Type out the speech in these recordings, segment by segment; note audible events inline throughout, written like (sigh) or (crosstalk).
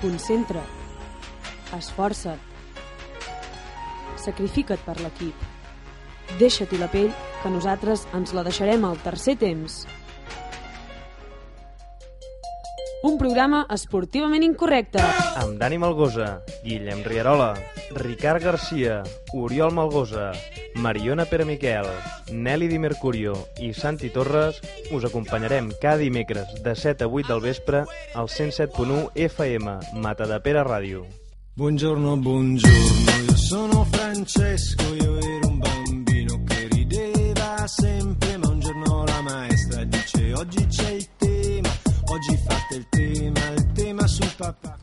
Concentra't. Esforça't. Sacrifica't per l'equip. Deixa-t'hi la pell, que nosaltres ens la deixarem al tercer temps. Un programa esportivament incorrecte. amb Dani Malgosa, Guillem Rierola, Ricard Garcia, Oriol Malgosa, Mariona Pere Miquel, Nelly Di Mercurio i Santi Torres us acompanyarem cada dimecres de 7 a 8 del vespre al 107.1 FM Matadepera Ràdio. Buongiorno, buongiorno, io sono Francesco, io ero un bambino che rideva sempre, ma un giorno la maestra dice oggi c'è il tema, oggi fate il tema, il tema sul papà.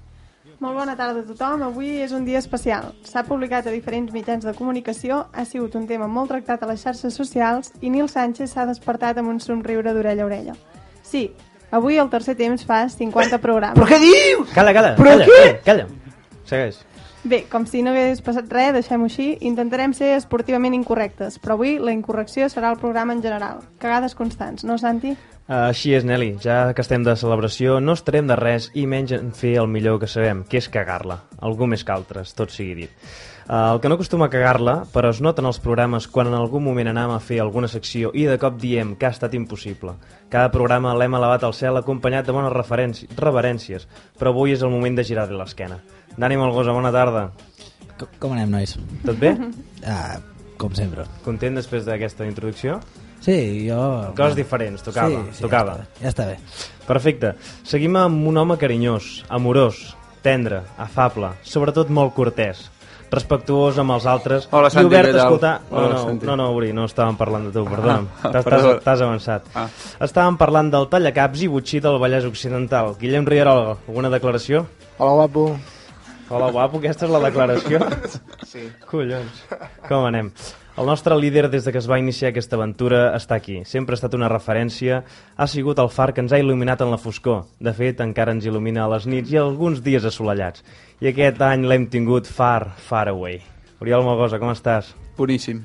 Molt bona tarda a tothom. Avui és un dia especial. S'ha publicat a diferents mitjans de comunicació, ha sigut un tema molt tractat a les xarxes socials i Nil Sánchez s'ha despertat amb un somriure d'orella a orella. Sí, avui al tercer temps fas 50 programes. Però què diu? Calla, calla, Però calla, què? calla, calla. Segueix. Bé, com si no hagués passat res, deixem-ho així. Intentarem ser esportivament incorrectes, però avui la incorrecció serà el programa en general. Cagades constants, no, Santi? Així és, Nelly. Ja que estem de celebració, no estarem de res i menys en fer el millor que sabem, que és cagar-la. Algú més que altres, tot sigui dit. Eh, El que no acostuma a cagar-la, però es nota en els programes quan en algun moment anam a fer alguna secció i de cop diem que ha estat impossible. Cada programa l'hem elevat al cel acompanyat de bones referènci- reverències, però avui és el moment de girar-li l'esquena. Dani Malgosa, bona tarda. Com, com anem, nois? Tot bé? Ah, com sempre. Content després d'aquesta introducció? Sí, jo... Coses diferents, tocava, tocava. Ja està bé. Perfecte. Seguim amb un home carinyós, amorós, tendre, afable, sobretot molt cortès, respectuós amb els altres Hola, i Santi, obert què a tal? escoltar... Hola, no, no, Santi. no, no, Uri, no estàvem parlant de tu, (laughs) perdona'm. Ah, T'has- T'has perdó. t'has avançat. Ah. Estàvem parlant del tallacaps i butxí del Vallès Occidental. Guillem Rierola, alguna declaració? Hola, guapo. Hola, guapo, aquesta és la declaració. (laughs) Sí. Collons, com anem? El nostre líder des de que es va iniciar aquesta aventura està aquí. Sempre ha estat una referència, ha sigut el far que ens ha il·luminat en la foscor. De fet, encara ens il·lumina a les nits i alguns dies assolellats. I aquest any l'hem tingut far, far away. Oriol Magosa, com estàs? Boníssim.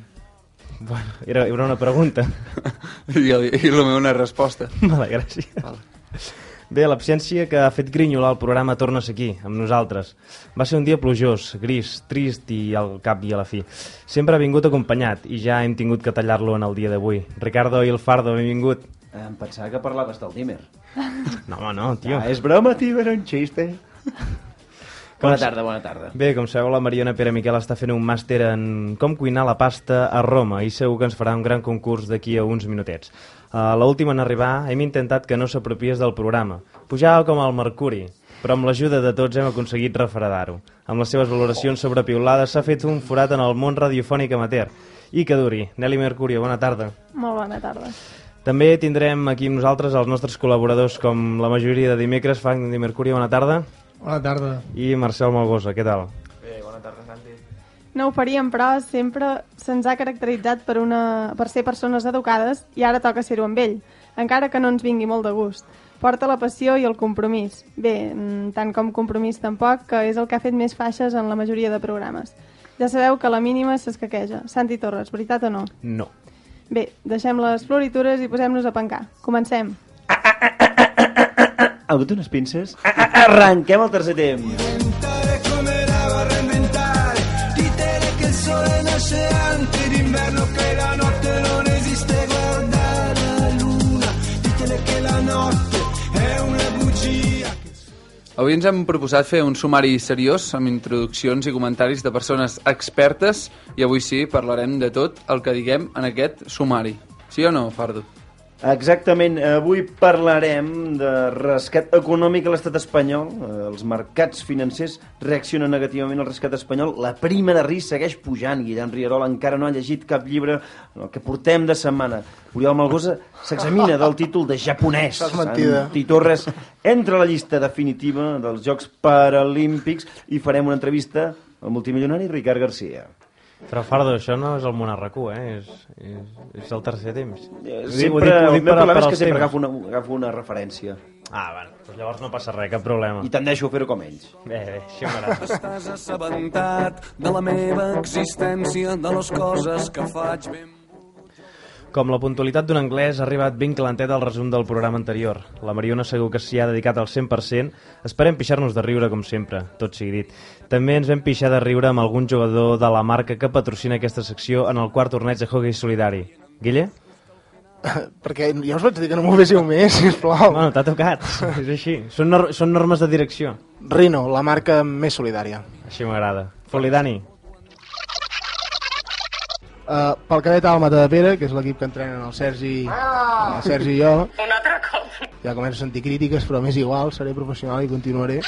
Bueno, era, era una pregunta. (laughs) I, el- i la meva una resposta. Mala gràcia. Bé, l'absència que ha fet grinyolar el programa torna a ser aquí, amb nosaltres. Va ser un dia plujós, gris, trist i al cap i a la fi. Sempre ha vingut acompanyat i ja hem tingut que tallar-lo en el dia d'avui. Ricardo i el Fardo, benvingut. Em pensava que parlaves del Dímer. (laughs) No, home, no, tio. Ah, és broma, tio, era un xiste. Com Bona s- tarda, bona tarda. Bé, com sabeu, la Mariona Pere Miquel està fent un màster en com cuinar la pasta a Roma i segur que ens farà un gran concurs d'aquí a uns minutets. A l'última en arribar hem intentat que no s'apropiés del programa. Pujava com el mercuri, però amb l'ajuda de tots hem aconseguit refredar-ho. Amb les seves valoracions sobre piulades s'ha fet un forat en el món radiofònic amateur. I que duri. Nelly Mercurio, bona tarda. Molt bona tarda. També tindrem aquí amb nosaltres els nostres col·laboradors, com la majoria de dimecres, Frank Di Mercurio, bona tarda, Bona tarda. i Marcel Malgosa, què tal? No ho faríem, però sempre se'ns ha caracteritzat per, una... per ser persones educades i ara toca ser-ho amb ell, encara que no ens vingui molt de gust. Porta la passió i el compromís. Bé, mm, tant com compromís tampoc, que és el que ha fet més faixes en la majoria de programes. Ja sabeu que la mínima s'escaqueja. Santi Torres, veritat o no? No. Bé, deixem les floritures i posem-nos a pencar. Comencem. Amb unes pinces. Ah, ah, arranquem el tercer temps. come la vorrei inventare ditele che il sole nasce anche d'inverno che la notte non esiste guarda la luna ditele che la notte è una bugia Avui ens hem proposat fer un sumari seriós amb introduccions i comentaris de persones expertes i avui sí, parlarem de tot el que diguem en aquest sumari. Sí o no, Fardo? Exactament, avui parlarem de rescat econòmic a l'estat espanyol. Eh, Els mercats financers reaccionen negativament al rescat espanyol. La prima de risc segueix pujant. Guillem Rierol encara no ha llegit cap llibre en el que portem de setmana. Oriol Malgosa s'examina del títol de japonès. Això és mentida. Santi Torres entra a la llista definitiva dels Jocs Paralímpics i farem una entrevista al multimilionari Ricard Garcia. Però, Fardo, això no és el monarracú, eh? És, és, és el tercer temps. Eh, Sempre, el meu problema és que sempre agafo una, agafo una referència. Ah, bueno, doncs llavors no passa res, cap problema. I tendeixo a fer-ho com ells. Bé, bé, això m'agrada. t'has assabentat de la meva existència de les coses que faig ben Com la puntualitat d'un anglès ha arribat ben calenteta al resum del programa anterior. La Mariona segur que s'hi ha dedicat al 100%. Esperem pixar-nos de riure, com sempre, tot sigui dit. També ens vam pixar de riure amb algun jugador de la marca que patrocina aquesta secció en el quart torneig de hockey solidari. Guille? (coughs) Perquè ja us vaig dir que no m'ho véssiu més, sisplau. Bueno, t'ha tocat. És així. Són, nor són normes de direcció. Rino, la marca més solidària. Així m'agrada. Foli, Dani. Uh, pel cadet Alma de Pere, que és l'equip que entrenen el Sergi, el Sergi i jo. Ah! Un altre cop. Ja començo a sentir crítiques, però m'és igual, seré professional i continuaré.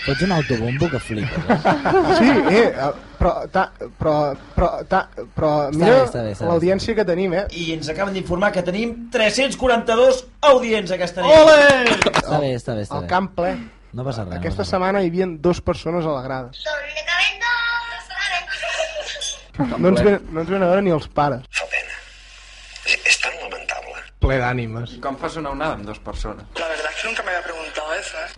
Pots anar autobombo que flipes. eh? (laughs) Sí, eh, eh, però, ta, però, però, ta, però bé, mira està bé, està bé. l'audiència que tenim, eh? I ens acaben d'informar que tenim 342 audients aquesta nit. Està bé, està bé, està El bé. camp ple. No passa res. Aquesta no passa res. setmana hi havia dos persones a la grada. No ens, ven, no ens ven a veure ni els pares. Ple d'ànimes. Com fa sonar una amb dues persones?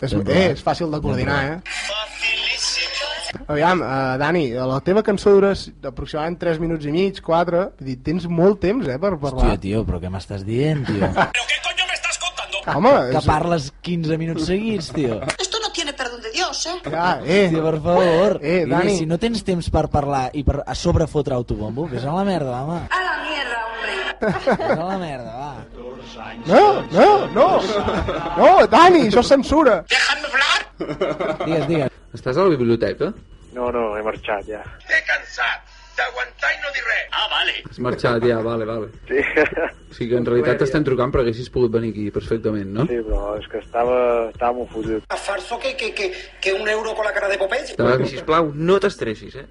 És, eh, és fàcil de coordinar, eh? Aviam, uh, Dani, la teva cançó dura s- aproximadament 3 minuts i mig, 4. Vull dir, tens molt temps, eh, per parlar. Hòstia, tio, però què m'estàs dient, tio? Home, que és... parles 15 minuts seguits, tio. Esto no tiene perdón de Dios, ¿eh? Ja, eh, Hòstia, per favor. Eh, Guille, Dani. Si no tens temps per parlar i per a sobre fotre autobombo, vés a la merda, home. A la mierda, hombre. Vés Tota a la merda, va. No, no, no. No, Dani, això és censura. Digues, digues. Estàs a la biblioteca? No, no, he marxat ja. Has marxat ja, vale, vale. Sí. O sigui que en realitat t'estem trucant però haguessis pogut venir aquí perfectament, no? sí, però és que estava, estava molt fotut. ¿Farso que, que, que, que un euro con la cara de Popeye? Estava... Sisplau, no t'estressis, eh?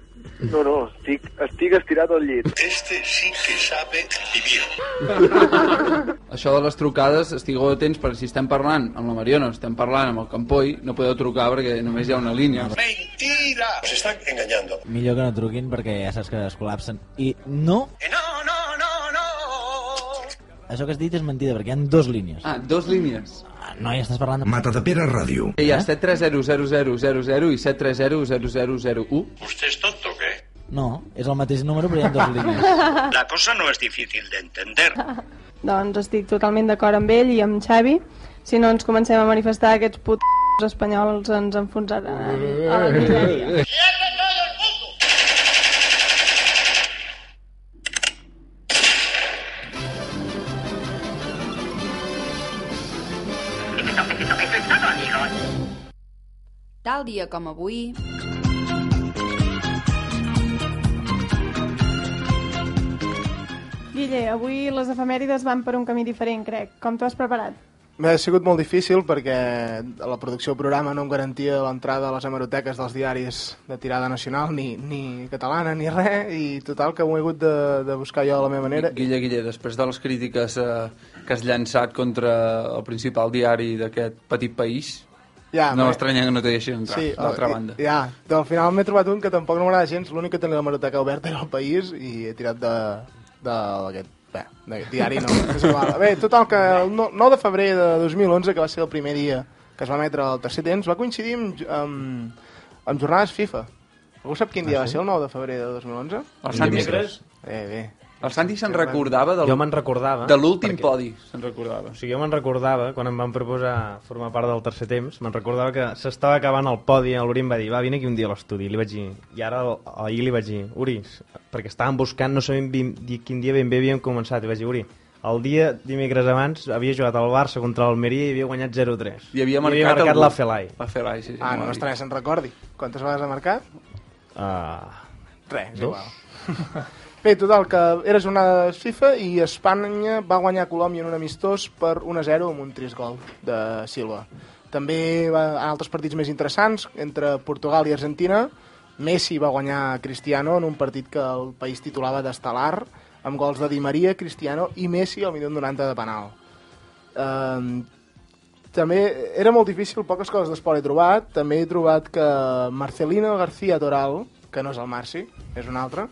No, no, estic, estic estirat al llit. Això de les trucades, estigueu atents, perquè si estem parlant amb la Mariona, o estem parlant amb el Campoi, no podeu trucar perquè només hi ha una línia. Millor que no truquin perquè ja saps que es col·lapsen. I no... No, Eh, no, no, no! Això que has dit és mentida, perquè hi ha dos línies. Ah, dos línies. Ah, no, ja estàs parlant de... Hi Eh? ha 7300000 i 730000001. ¿Usted es tonto o qué? No, és el mateix número, però hi ha dos línies. La cosa no es difícil de entender. Doncs estic totalment d'acord amb ell i amb Xavi. Si no ens comencem a manifestar, aquests puts espanyols ens enfonsaran a la misèria. Tal dia com avui... Guille, avui les efemèrides van per un camí diferent, crec. Com t'ho has preparat? M'ha sigut molt difícil perquè la producció del programa no em garantia l'entrada a les hemeroteques dels diaris de tirada nacional, ni, ni catalana, ni res, i total que ho he hagut de, de buscar jo de la meva manera. Guille, Guille, després de les crítiques eh, que has llançat contra el principal diari d'aquest petit país, Ja, no bé. m'estranya que no t'hi deixin entrar, sí, d'altra i- banda. Ja, però al final m'he trobat un que tampoc no m'agrada gens, l'únic que tenia la hemeroteca oberta era el país i he tirat de... de aquest, bé, d'aquest diari no, és igual. Bé, total, que el no- 9 de febrer de 2011, que va ser el primer dia que es va emetre el tercer temps, va coincidir amb, amb, amb jornades FIFA. Algú sap quin dia va ser el 9 de febrer de 2011? El Sant Ah, Dimecres. Eh, bé, El Santi se'n recordava del, Jo me'n recordava. de l'últim perquè- podi. Se'n recordava. O sigui, jo me'n recordava, quan em van proposar formar part del tercer temps, me'n recordava que s'estava acabant el podi i l'Uri em va dir, va, vine aquí un dia a l'estudi. I li vaig dir, i ara el- ahir li vaig dir, Uri, perquè estàvem buscant, no sabem bin- di- quin dia ben bé havíem començat. I vaig dir, Uri, el dia dimecres abans havia jugat al Barça contra l'Almeria i havia guanyat 0-3. I havia marcat, I havia marcat algú. la Felai. La Felai, sí. sí Ah, m'ho va no, dir. ostres, se'n recordi. Quantes vegades ha marcat? Res, és Ah. Dos? igual. Bé, total, que era jornada de FIFA i Espanya va guanyar Colòmbia en un amistós per 1-0 amb un trist gol de Silva. També va, en altres partits més interessants, entre Portugal i Argentina, Messi va guanyar Cristiano en un partit que el país titulava d'estel·lar, amb gols de Di Maria, Cristiano i Messi al minut 90 de penal. Um, també era molt difícil, poques coses d'esport he trobat. També he trobat que Marcelino García Toral, que no és el Marci, és un altre,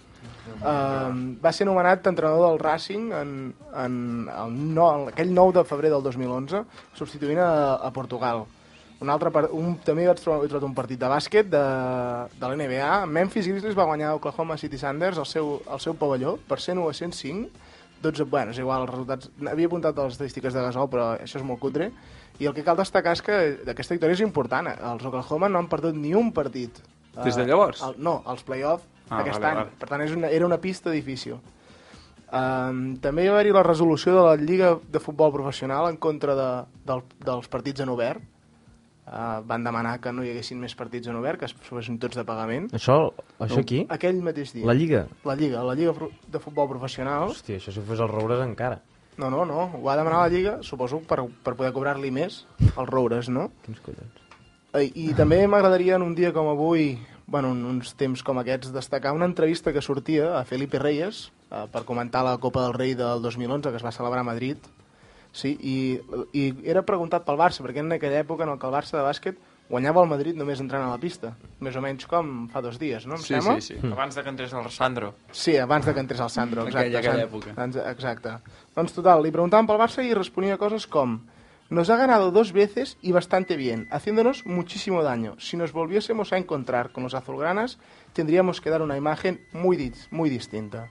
eh, va ser nomenat entrenador del Racing en, en, el no, en aquell 9 de febrer del 2011, substituint a, a Portugal. Un altre, par- un, també vaig trobar, he trobat un partit de bàsquet de, de l'NBA. Memphis Grizzlies va guanyar Oklahoma City Sanders al seu, al seu pavelló per 101 a 105 12, bueno, és igual, els resultats... Havia apuntat a les estadístiques de Gasol, però això és molt cutre. I el que cal destacar és que aquesta victòria és important. Els Oklahoma no han perdut ni un partit. Eh, Des de llavors? El, no, els play-off Ah, ah, aquest vale, any. vale. Per tant, és una, era una pista difícil. Um, també hi va haver la resolució de la Lliga de Futbol Professional en contra de, del, dels partits en obert. Uh, van demanar que no hi haguessin més partits en obert, que es fessin tots de pagament. Això, això aquí? Aquell mateix dia. La Lliga? La Lliga, la Lliga Pro- de Futbol Professional. Hòstia, això si fos el Roures encara. No, no, no. Ho va demanar la Lliga, suposo, per, per poder cobrar-li més als roures, no? Quins collons. I, Eh, i també m'agradaria en un dia com avui, bueno, en uns temps com aquests, destacar una entrevista que sortia a Felipe Reyes eh, per comentar la Copa del Rei del 2011 que es va celebrar a Madrid. Sí, i, i era preguntat pel Barça, perquè en aquella època en el que el Barça de bàsquet guanyava el Madrid només entrant a la pista. Més o menys com fa dos dies, no? Em Sí, sembla? sí, sí. Mm. Abans de que entrés el Sandro. Sí, abans de que entrés el Sandro, exacte. Aquella- aquella Sant- època. Doncs, exacte. Doncs total, li preguntaven pel Barça i responia coses com Nos ha ganado dos veces y bastante bien, haciéndonos muchísimo daño. Si nos volviésemos a encontrar con los azulgranas, tendríamos que dar una imagen muy, dis- muy distinta.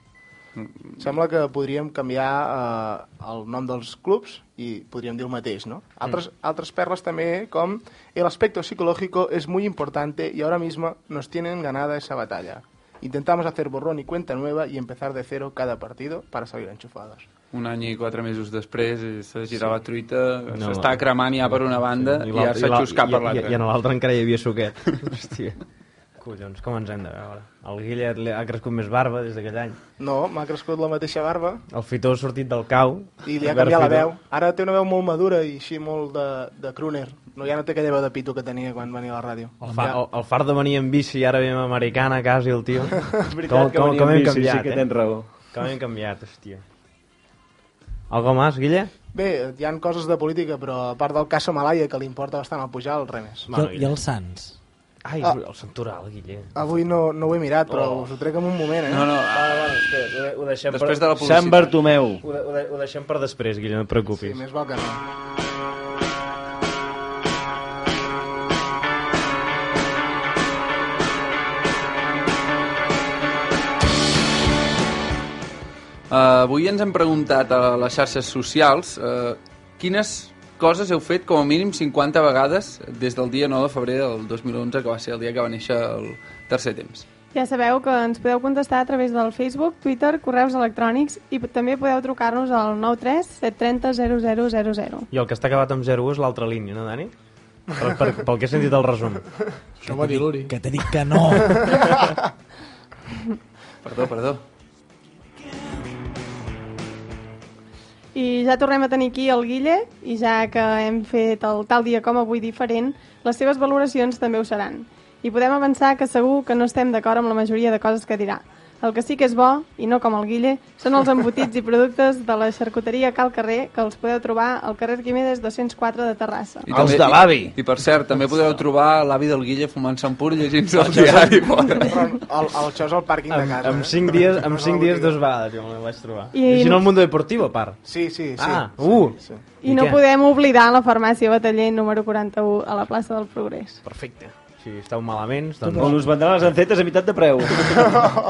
Sembla que podríem canviar eh, el nom dels clubs i podríem dir el mateix, no? Altres, altres perles també com El aspecto psicológico es muy importante y ahora mismo nos tienen ganada esa batalla. Intentamos hacer borrón y cuenta nueva y empezar de cero cada partido para salir enchufados. Un any i quatre mesos després eh, s'ha girat Sí. la truita, No, s'està cremant ja per una banda i, ara s'ha xuscat per l'altra. I, i en l'altre encara hi havia suquet. Hòstia. Collons, com ens hem de veure? El Guillet li ha crescut més barba des d'aquell any. No, m'ha crescut la mateixa barba El Fitó ha sortit del cau. i li ha Albert canviat la Fitó. veu. Ara té una veu molt madura i així molt de, de crooner. No, ja no té aquella veu de pito que tenia quan venia a la ràdio. El, fa, el, el far de venir en bici i ara ve amb americana quasi el (laughs) tio. com, que com, venia com en hem bici, canviat, sí que eh? tens raó. Com hem canviat, hòstia. Algo más, Guille? Bé, hi han coses de política, però a part del cas Somalaia, que li importa bastant al Pujal, res més. I, el- I els Sants? Ai, Ah. el Santoral, Guille. Avui no, no ho he mirat, però Oh. us ho trec en un moment, eh? No, no, ah, bueno, espera, ho deixem Després de la publicitat. Sant Bartomeu. Ho, de, ho, de, ho deixem per després, Guille, no et preocupis. Sí, més val que no. Uh, avui ens hem preguntat a les xarxes socials uh, quines coses heu fet com a mínim 50 vegades des del dia 9 de febrer del 2011, que va ser el dia que va néixer el tercer temps. Ja sabeu que ens podeu contestar a través del Facebook, Twitter, correus electrònics i també podeu trucar-nos al 93 730 0000. I el que està acabat amb 0 és l'altra línia, no, Dani? Per, per, pel que he sentit el resum. Això va dir l'Uri. Que t'he dit que no. (laughs) Perdó, perdó. I ja tornem a tenir aquí el Guille, i ja que hem fet el tal dia com avui diferent, les seves valoracions també ho seran. I podem avançar que segur que no estem d'acord amb la majoria de coses que dirà. El que sí que és bo, i no com el Guille, són els embotits i productes de la xarcuteria Cal Carrer, que els podeu trobar al carrer Quimedes 204 de Terrassa. I també- i- I, per cert, també podreu trobar l'avi del Guille fumant-se un pur llegint-se el Això és- diari. fora. Però el, el, això és el pàrquing de Amb, casa. amb eh? 5 dies, amb 5 dies dos vegades jo me la vaig trobar. I- I... Llegint el Mundo Deportivo, a part. Sí, sí, sí. Ah, uh! Sí, I no podem oblidar la farmàcia Bataller número 41 a la plaça del Progrés. Perfecte. Si esteu malament, On doncs... us vendran les encetes a meitat de preu.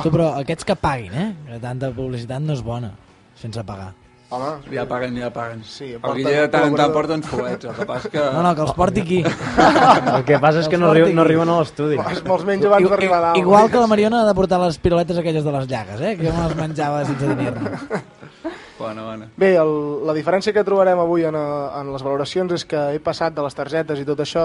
Tu, però aquests que paguin, eh? Que tanta publicitat no és bona, sense pagar. Home, ja paguen, ja paguen. Sí, el porten Guille de tant en tant col·laborador. porta uns fuets, el que passa Eh, que... No, no, que els porti aquí. El que passa és que no, riu, no riuen a l'estudi. Me'ls menja abans I- d'arribar a dalt. Igual que la Mariona ha de portar les piruletes aquelles de les llagues, eh? Que jo me les menjava sense tenir-ne. Bona, bona. Bé, el, la diferència que trobarem avui en, eh, en les valoracions és que he passat de les targetes i tot això,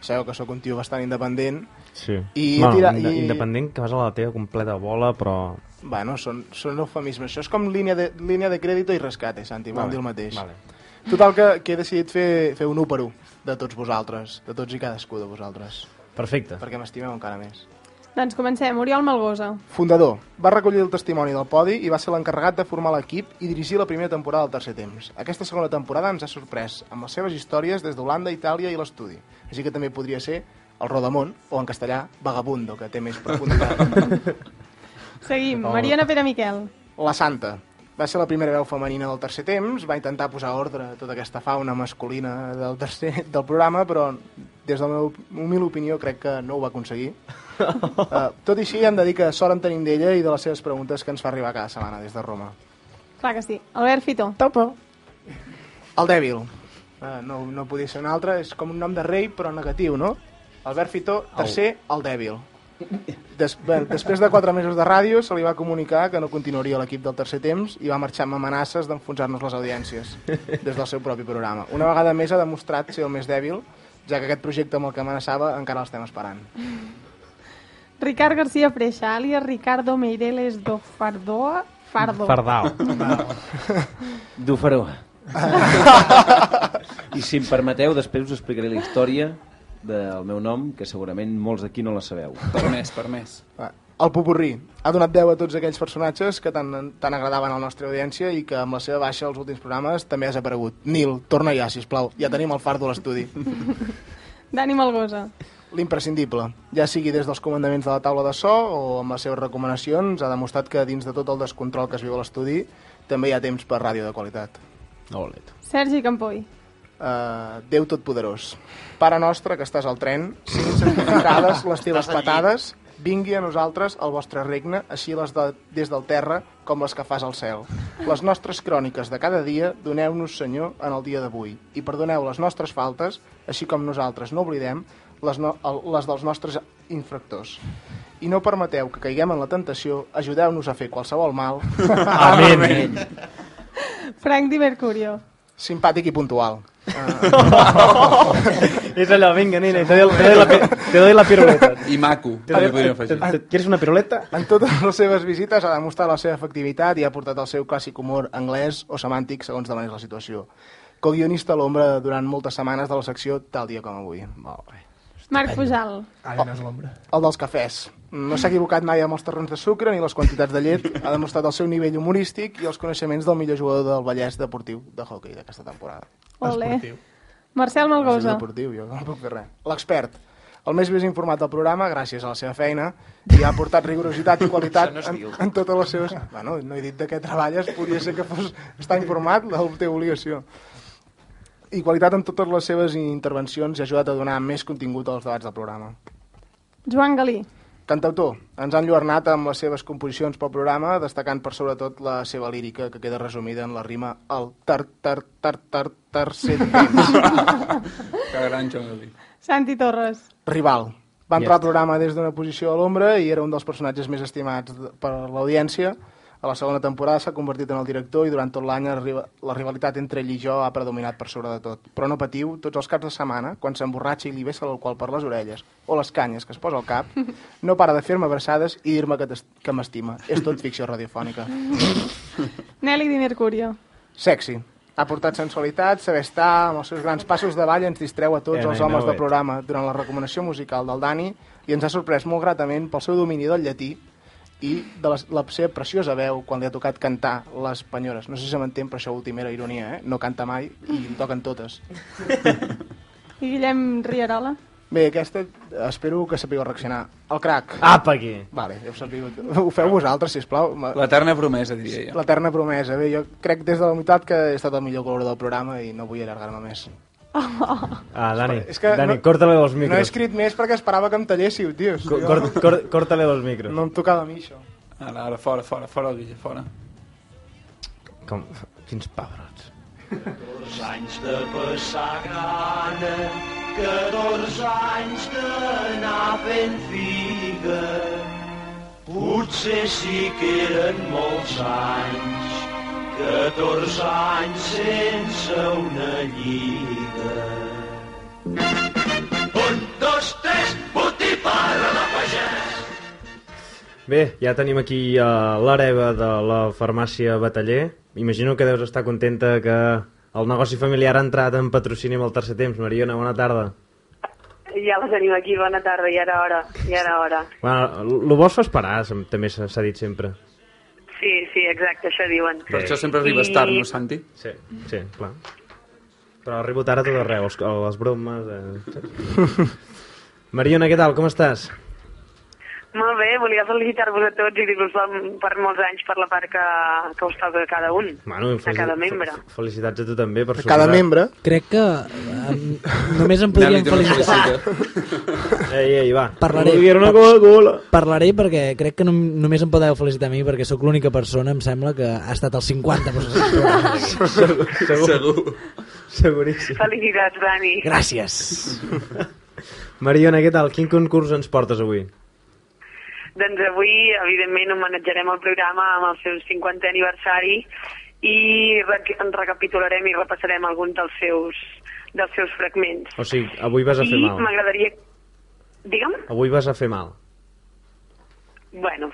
sabeu que sóc un tio bastant independent, Sí. I bueno, tira- inde- i- Independent que vas a la teva completa bola, però... bueno, són, són eufemismes. Això és com línia de, línia de crèdito i rescate, Santi, vam Vale, dir el mateix. vale. Total, que, que he decidit fer, fer un 1 per 1 de tots vosaltres, de tots i cadascú de vosaltres, Perfecte. perquè m'estimeu encara més. Doncs comencem. Oriol Malgosa. Fundador, va recollir el testimoni del podi i va ser l'encarregat de formar l'equip i dirigir la primera temporada del tercer temps. Aquesta segona temporada ens ha sorprès amb les seves històries des d'Holanda, Itàlia i l'estudi. Així que també podria ser el Rodamont, o en castellà, Vagabundo, que té més (laughs) profunditat. Seguim. Mariana Pere Miquel. La Santa. Va ser la primera veu femenina del tercer temps, va intentar posar ordre a tota aquesta fauna masculina del tercer del programa, però des de la meva humil opinió crec que no ho va aconseguir. Uh, tot i així hem de dir que sort en tenim d'ella i de les seves preguntes que ens fa arribar cada setmana des de Roma. Clar que sí. Albert Fito. Topo. El dèbil. Eh, no, no podia ser un altre, és com un nom de rei, però negatiu, no? Albert Fitó, tercer, el dèbil. Des, bé, després de quatre mesos de ràdio, se li va comunicar que no continuaria a l'equip del tercer temps i va marxar amb amenaces d'enfonsar-nos les audiències des del seu propi programa. Una vegada més ha demostrat ser el més dèbil, ja que aquest projecte amb el que amenaçava encara l'estem esperant. (laughs) Ricard García Freixa, alias Ricardo Meireles do Fardoa. (laughs) Fardo. Fardau. Dufaró. I si em permeteu, després us explicaré la història del meu nom, que segurament molts d'aquí no la sabeu. Permès, permès. Va, El Popurrí ha donat veu a tots aquells personatges que tant, tant agradaven a la nostra audiència i que amb la seva baixa als últims programes també ha desaparegut. Nil, torna ja, sisplau. Ja tenim el fart de l'estudi. Dani Malgosa. L'imprescindible, ja sigui des dels comandaments de la taula de so o amb les seves recomanacions, ha demostrat que dins de tot el descontrol que es viu a l'estudi també hi ha temps per ràdio de qualitat. Olet. Sergi Campoy. Uh, Déu Totpoderós, Pare nostre que estàs al tren, siguin santificades les teves patades, vingui a nosaltres el vostre regne, així les de, des del terra com les que fas al cel. Les nostres cròniques de cada dia doneu-nos, Senyor, en el dia d'avui, i perdoneu les nostres faltes, així com nosaltres no oblidem les, no, el, les dels nostres infractors. I no permeteu que caiguem en la tentació, ajudeu-nos a fer qualsevol mal. (laughs) Amén. Frank Di Mercurio. Simpàtic i puntual. (laughs) És allò, vinga, nena, te doy, te doy, la, pi- te doy la piruleta. I maco, Te també doy, ho podríem te, afegir. te, ¿Quieres una piruleta? En totes les seves visites ha demostrat la seva efectivitat i ha portat el seu clàssic humor anglès o semàntic, segons demanés la situació. Co-guionista a l'ombra durant moltes setmanes de la secció Tal dia com avui. Marc Pujal. Oh. El dels cafès. No s'ha equivocat mai amb els terrons de sucre ni les quantitats de llet. Ha demostrat el seu nivell humorístic i els coneixements del millor jugador del Vallès deportiu de hockey d'aquesta temporada. Ole. Marcel Malgosa. deportiu, jo no puc fer res. L'expert. El més ben informat del programa, gràcies a la seva feina, i ha aportat rigorositat i qualitat en, en totes les seves... Bueno, no he dit de què treballes, podria ser que fos estar informat, la teva obligació. I qualitat en totes les seves intervencions i ha ajudat a donar més contingut als debats del programa. Joan Galí. Cantautor, ens han lluernat amb les seves composicions pel programa, destacant per sobretot la seva lírica, que queda resumida en la rima al tar tar tar tar tercer temps. (laughs) Que gran John Lee. Santi Torres. Rival. Va entrar al programa des d'una posició a l'ombra i era un dels personatges més estimats de- per l'audiència. A la segona temporada s'ha convertit en el director i durant tot l'any la riva- la rivalitat entre ell i jo ha predominat per sobre de tot. Però no patiu, tots els caps de setmana, quan s'emborratxa i li vessa l'alcohol per les orelles o les canyes que es posa al cap, no para de fer-me abraçades i dir-me que, t'est- que m'estima. És tot ficció radiofònica. Nelly Di Mercurio. Sexy. Ha portat sensualitat, saber estar, amb els seus grans passos de ball ens distreu a tots And els I homes know del it. programa durant la recomanació musical del Dani i ens ha sorprès molt gratament pel seu domini del llatí i de la, la seva preciosa veu quan li ha tocat cantar les penyores. No sé si se m'entén, però això últim era ironia, eh? No canta mai i em toquen totes. I Guillem Rierola. Bé, aquesta espero que sapigueu reaccionar. El crac. Apa, aquí. Vale, ja ho sabeu. Ho feu vosaltres, sisplau. Ma- L'eterna promesa, diria jo. L'eterna promesa. Bé, jo crec des de la unitat que he estat el millor color del programa i no vull allargar-me més. Ah, Dani, És que Dani no- corta-li dos No he micros. escrit més perquè esperava que em tallessiu, tios. Co- (laughs) cort- cort- Corta-li dos micros. No em tocava a mi, això. Ara, ara, fora, fora, fora, el Guille, fora. Com... Quins pebrots. 14 anys de passar gana, 14 anys d'anar fent figa. Potser sí que eren molts anys, 14 anys sense una lliga. Un, dos, tres, botifarra de pagès. Bé, ja tenim aquí uh, l'hereva de la farmàcia Bataller. Imagino que deus estar contenta que el negoci familiar ha entrat en patrocini amb el tercer temps. Mariona, bona tarda. Ja la tenim aquí, bona tarda, ja era hora, ja era hora. Bueno, el bo es fa esperar, sem- també s'ha s'ha dit sempre. Sí, sí, exacte, això diuen. Per això sempre arribes tard, no, Santi? Sí. Sí, clar. Però arribo tard a tot arreu, els- a les bromes... Eh... (laughs) Mariona, què tal? Com estàs? Molt bé, volia felicitar-vos a tots i dir-vos pel- per molts anys per la part que, que us toca a cada un, Bueno, a cada membre. fe- Felicitats a tu també. Per cada membre. Crec que um, només em podrien felicitar. Ei, ei, va. Parlaré, Vull dir una parlaré perquè crec que no, només em podeu felicitar a mi perquè sóc l'única persona, em sembla, que ha estat el 50 (laughs) Segur, segur. segur. Seguríssim. Felicitats, Dani. Gràcies. Mariona, què tal? Quin concurs ens portes avui? Doncs avui, evidentment, homenatjarem el programa amb el seu 50è aniversari i re- en recapitularem i repassarem algun dels seus, dels seus fragments. O sigui, avui vas a fer I mal. m'agradaria... Digue'm? Avui vas a fer mal. Bueno,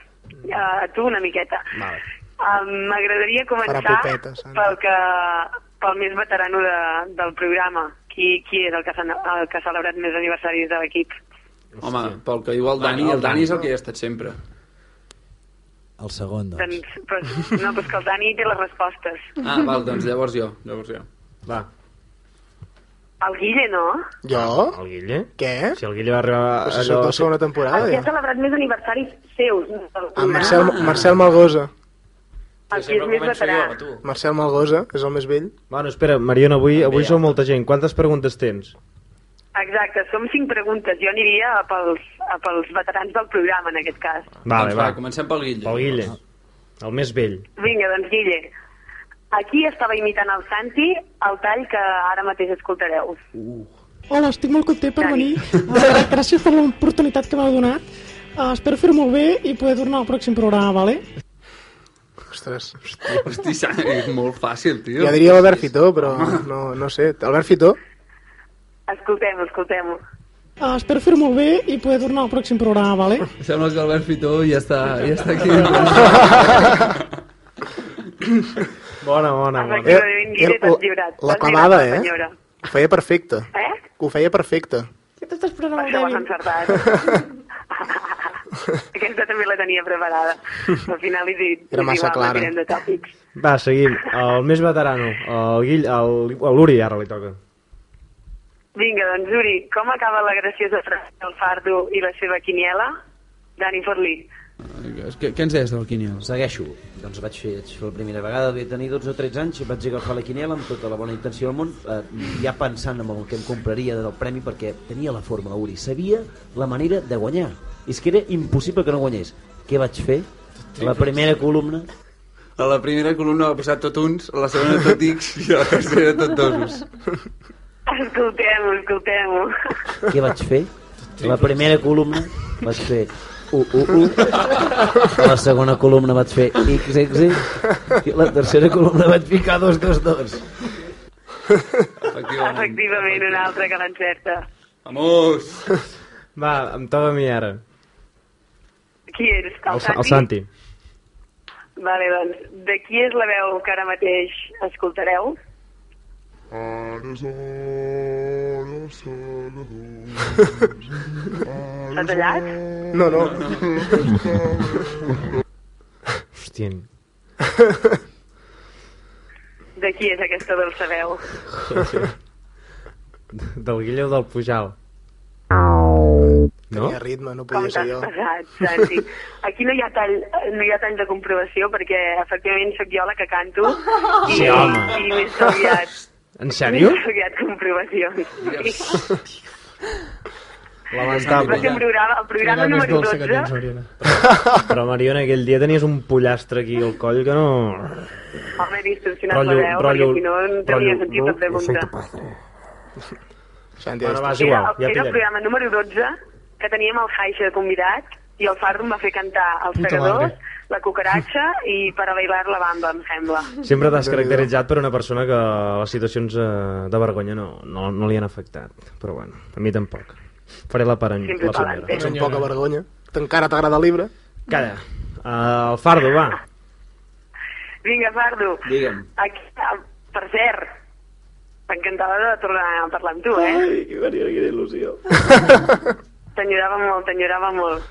a tu una miqueta. Vale. Um, M'agradaria Farà començar popetes, Sandra. pel, que, pel més veterano de, del programa. Qui, qui és el que, s'ha- el que ha celebrat més aniversaris de l'equip? Home, pel que diu el Dani, el Dani és el que hi ha estat sempre. El segon, doncs. Doncs, pues, no, pues que el Dani té les respostes. Ah, val, doncs llavors jo, llavors jo. Va. El Guille, no? Jo? El Guille? Què? Si el Guille va arribar... Però si sóc la segona Ah, temporada, el que ja. ha celebrat més aniversaris seus. no del Ah, programa. Marcel, Marcel Malgosa. El que és més veterà. Marcel Malgosa és el més vell. Bueno, espera, Mariona, avui, avui sou molta gent. Quantes preguntes tens? Exacte, som cinc preguntes. Jo aniria a pels, a pels veterans del programa, en aquest cas. Vale, va, comencem pel Guille. Doncs Pel Guille. El més vell. Vinga, doncs, Guille, aquí estava imitant el Santi el tall que ara mateix escoltareu. Hola, estic molt content per venir. Eh, Gràcies per l'oportunitat que m'heu donat. Eh, espero fer-ho molt bé i poder tornar al pròxim programa, vale? Ostres. Hosti, sa- és molt fàcil, tio. Ja diria l'Albert Fitó, però no, no sé. Albert Fitó? Escoltem, escoltem. Eh, espero fer-ho molt bé i poder tornar al pròxim programa, vale? Sembla que Albert Fitó ja està, ja està aquí. Bona, bona, bona. Efectivament, Guille, Eh, t'has lliurat. la T'has clavada, lliurat, eh? Doncs senyora. Ho feia perfecte. Eh? Ho feia perfecte. Que t'estàs prenent el dèbil. Aquesta també la tenia preparada. Al final he dit... Era he dit, massa va, va, clara. tirem de tòpics. Va, seguim. El més veterano. El Guille, el, a l'Uri ara li toca. Vinga, doncs, Uri, com acaba la graciosa frase del Fardo i la seva quiniela? Dani Forlí. Què, què ens deies del Quiniel? Segueixo. Doncs vaig fer, vaig fer la primera vegada, devia tenir 12 o 13 anys, i vaig agafar la quiniela amb tota la bona intenció del món, eh, ja pensant en el que em compraria del premi, perquè tenia la forma, Uri, sabia la manera de guanyar. És que era impossible que no guanyés. Què vaig fer? La primera columna A la primera columna va posar tot uns, a la segona tot X i a la tercera tot dosos. (laughs) Escoltem-ho, escoltem-ho. Què vaig fer? La primera columna vaig fer u, u, u. A la segona columna vaig fer x, x, x. I a la tercera columna vaig ficar dos, dos, dos. Efectivament, una altra que l'encerta. Vamos! (laughs) Va, em toca a mi ara. Qui és? El, Sa- el Santi. Vale, doncs, de qui és la veu que ara mateix escoltareu? S'ha tallat? No, no. (laughs) (laughs) Hòstia. De qui és aquesta dolça veu? Del Guille o del Pujal? No? Tenia ritme, no Com podia ser t'has jo. passat, Santi? Aquí no hi, ha tall, no hi ha tall de comprovació perquè efectivament sóc jo la que canto i, Sí, home. i més aviat En sèrio? He estudiat comprovacions. (laughs) Sí. Lamentable. Va ser un programa, el programa Era més número dolça que 12. tens, Però, Mariona, aquell dia tenies un pollastre aquí al coll que no... Home, he distorsionat la Rotllo, veu, rotllo, perquè si no no rotllo, tenia sentit la pregunta. Bueno, va, és era, era igual, ja el pillaré. programa número 12, que teníem el Haixa de convidat, i el Farro em va fer cantar Els Puta Segadors, madre. La Cucaracha i Para Bailar la Bamba, em sembla. Sempre t'has caracteritzat per una persona que les situacions eh, de vergonya no, no, no li han afectat. Però bueno, a mi tampoc. Faré la parany. La senyora. Ets un poca vergonya. Encara t'agrada el llibre? Calla. Uh, Eh, el Fardo, va. Vinga, Fardo. Digue'm. Aquí, ah, per cert, encantada de tornar a parlar amb tu, eh? Ai, que venia, quina (laughs) il·lusió. T'enyorava molt, t'enyorava molt.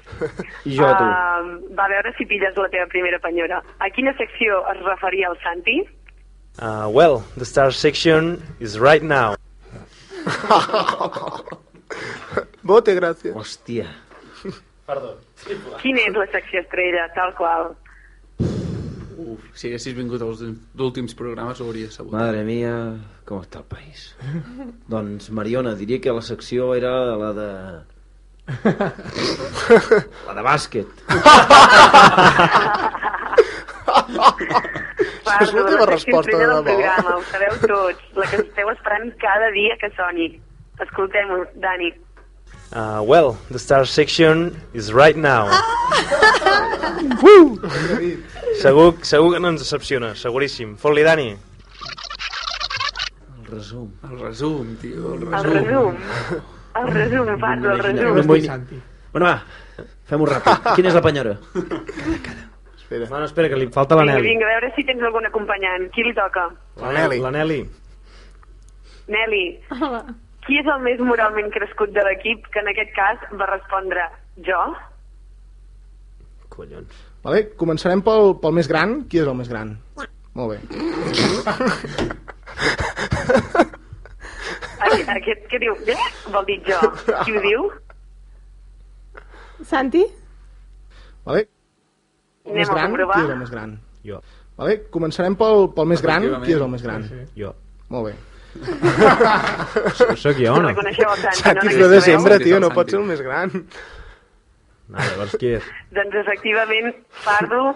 I jo a tu. Uh, va a veure si pilles la teva primera penyora. A quina secció es referia el Santi? Uh, well, the star section is right now. Vote, gràcies. Hòstia. Perdó. Quina és la secció estrella, tal qual? Uf, si haguessis vingut als últims programes ho hauries sabut. Madre mia, com està el país. doncs, Mariona, diria que la secció era la de... la de bàsquet. Fardo, és l'última la secció resposta, estrella de del debò. programa, ho sabeu tots. La que esteu esperant cada dia que soni. Escoltem-ho, Dani. Uh, well, the star section is right now. Uh! Segur, segur que no ens decepciona, seguríssim. Fot-li, Dani. El resum. El resum, tio, el El resum. resum. El resum, Fardo, el Imagina't, resum. no vull ni- Bueno, va, fem-ho (laughs) ràpid. Quina és la penyora? Espera. Bueno, espera, que li falta la Vinga, Nelly. vinga, a veure si tens algun acompanyant. Qui li toca? La Nelly. La Nelly. Nelly, qui és el més moralment crescut de l'equip que en aquest cas va respondre jo? Collons. Vale, començarem pel, pel més gran. Qui és el més gran? Molt bé. Aquest, aquest que diu, eh? vol dir jo. Qui ho diu? Santi? Vale? El més Anem a gran? comprovar. Qui és el més gran? Jo. Vale, començarem pel, pel més gran. Efectivament. Qui és el més gran? Sí, Jo. Molt bé. Soc jo, no? Reconeixeu el Santi, no? Santi és de desembre, tio, no pot ser el més gran. Ah, llavors qui és? Doncs efectivament, Fardo,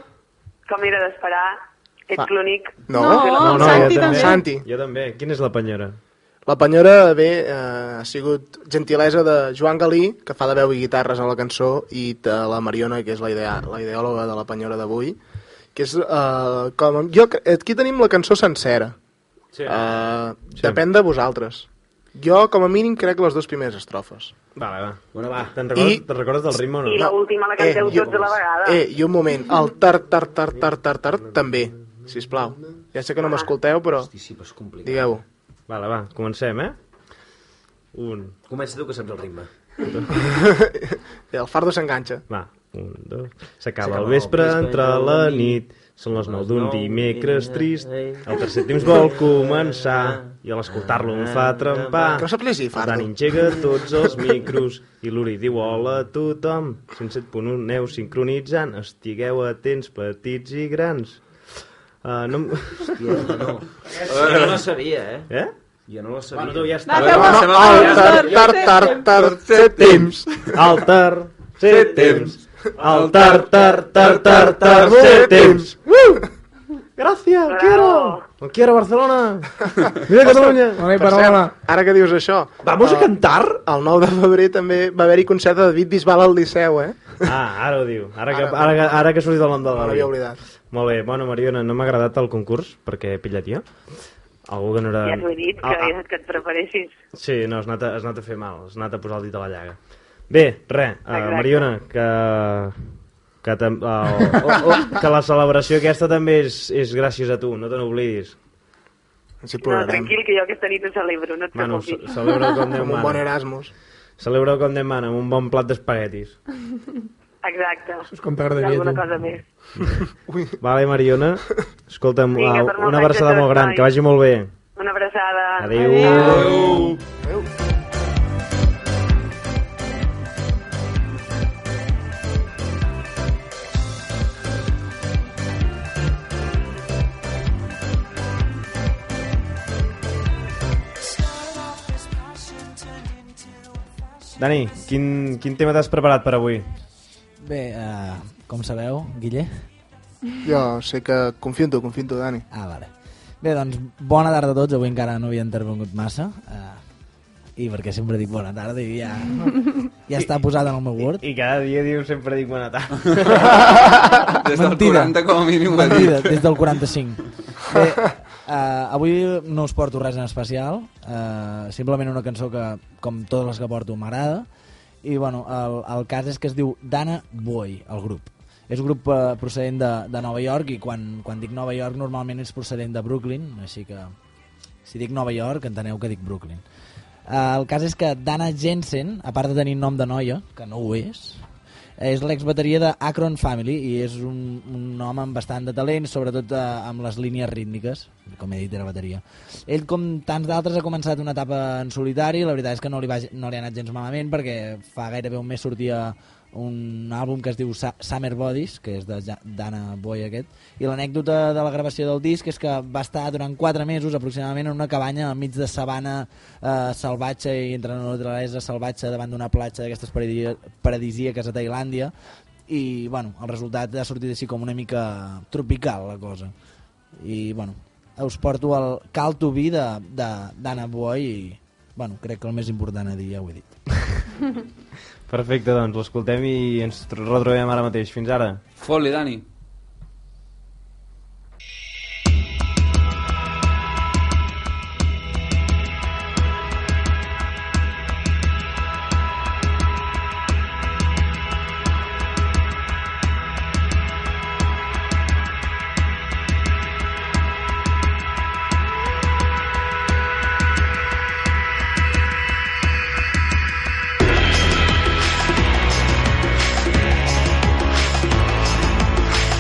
com era d'esperar, ets Ah. l'únic. Santi també. Santi. Jo també. Quina és la penyora? La penyora bé, eh, ha sigut gentilesa de Joan Galí, que fa de veu i guitarres a la cançó, i de la Mariona, que és la, idea, la ideòloga de la penyora d'avui, que és eh, com... Jo, cre- aquí tenim la cançó sencera. Sí. Ah. Eh, Depèn de vosaltres. Jo, com a mínim, crec les dues primeres estrofes. Vale, va. Bueno, va. Te'n recordes, I- I... te recordes del ritme o no? I l'última la canteu i- tots a la vegada. Eh, i un moment, el tar, tar, tar, tar, tar, tar, també, sisplau. Ja sé que no Ah. m'escolteu, però... Hosti, sí, però és complicat. Digueu-ho. Vale, va, comencem, eh? Un, Comença tu, que saps el ritme. (laughs) El fardo s'enganxa. Va, un, dos... S'acaba S'acaba el vespre, el vespre, entra la nit, són les 9 d'un dimecres Ah. trist, el tercer temps vol començar, i a l'escoltar-lo em fa trempar. Que no sap llegir, Fardo. El Dan engega (laughs) tots els micros, i l'Uri diu hola a tothom. 107.1 aneu sincronitzant, estigueu atents, petits i grans. Uh, no... em- Hòstia, (laughs) no. Jo no la sabia, eh? Eh? Jo no la sabia. Bueno, tu ja està. Va, Bueno, va, bueno, va, al va, tar, va, tar, va, tar, va, tar, va, set temps. Al tar, set temps. Al tar, tar, tar, tar, tar, set temps. Gràcies, Bravo. quiero. No quiero (laughs) Barcelona. Mira Catalunya. Per cert, Ara que dius això... Vamos a cantar? El 9 de febrer també va haver-hi concert de David Bisbal al Liceu, eh? Ah, ara ho diu. Ara que, ara, que, ara que ha sortit el nom de Me l'Ari. l'havia oblidat. Molt bé. Bueno, Mariona, no m'ha agradat el concurs, perquè he pillat jo. Algú que no era... Ja t'ho he dit, que, Ah, que et preparessis. Sí, no, has anat, a, has anat a fer mal, has anat a posar el dit a la llaga. Bé, res, uh, Exacte. Mariona, que... Que, tam, el, o, o, que la celebració aquesta també és, és gràcies a tu, no te n'oblidis. Sí, No, tranquil, que jo aquesta nit ho celebro, no et Manu, preocupis. ce- celebra-ho com Déu Com un mana. bon Erasmus. Celebra com Déu mana, amb un bon plat d'espaguetis. Exacte. Això és com t'agradaria a Alguna tu. cosa més. Vale, Mariona, escolta'm, Vinga, au, per molt bé una que abraçada tot molt gran, vagi. que vagi molt bé. Una abraçada. Adéu. Adéu. Dani, quin, quin tema t'has preparat per avui? Bé, uh, Ah, com sabeu, Guiller? Jo sé que confio en tu, confio en tu, Dani. Ah, vale. Bé, doncs, bona tarda a tots. Avui encara no havia intervingut massa. Ah, Uh, I perquè sempre dic bona tarda i ja, (laughs) ja està posat en el meu Word. I cada dia diu sempre dic bona tarda. (laughs) Des del 40 com a mínim ho ha dit. Mentida, des del 45. Bé, uh, avui no us porto res en especial, uh, simplement una cançó que, com totes les que porto, m'agrada. I, bueno, el, el cas és que es diu Dana Boy, el grup. És un grup eh, procedent de, de Nova York i quan, quan dic Nova York normalment és procedent de Brooklyn, així que si dic Nova York enteneu que dic Brooklyn. Eh, el cas és que Dana Jensen, a part de tenir nom de noia, que no ho és, és l'exbateria de Akron Family i és un, un home amb bastant de talent, sobretot eh, amb les línies rítmiques, com he dit, era bateria. Ell, com tants d'altres, ha començat una etapa en solitari i la veritat és que no li, va, no li ha anat gens malament perquè fa gairebé un mes sortia un àlbum que es diu Sa- Summer Bodies, que és de Ja- Dana Boy aquest, i l'anècdota de la gravació del disc és que va estar durant 4 mesos aproximadament en una cabanya enmig de sabana eh, salvatge i entre la naturalesa salvatge davant d'una platja d'aquestes paradisia- paradisíaques a Tailàndia i bueno, el resultat ha sortit així com una mica tropical la cosa i bueno, us porto el Cal to be de, de Dana Boy i bueno, crec que el més important a dir ja ho he dit Perfecte, doncs l'escoltem i ens tr- retrobem ara mateix. Fins ara. Fot-li, Dani. Oh, Dana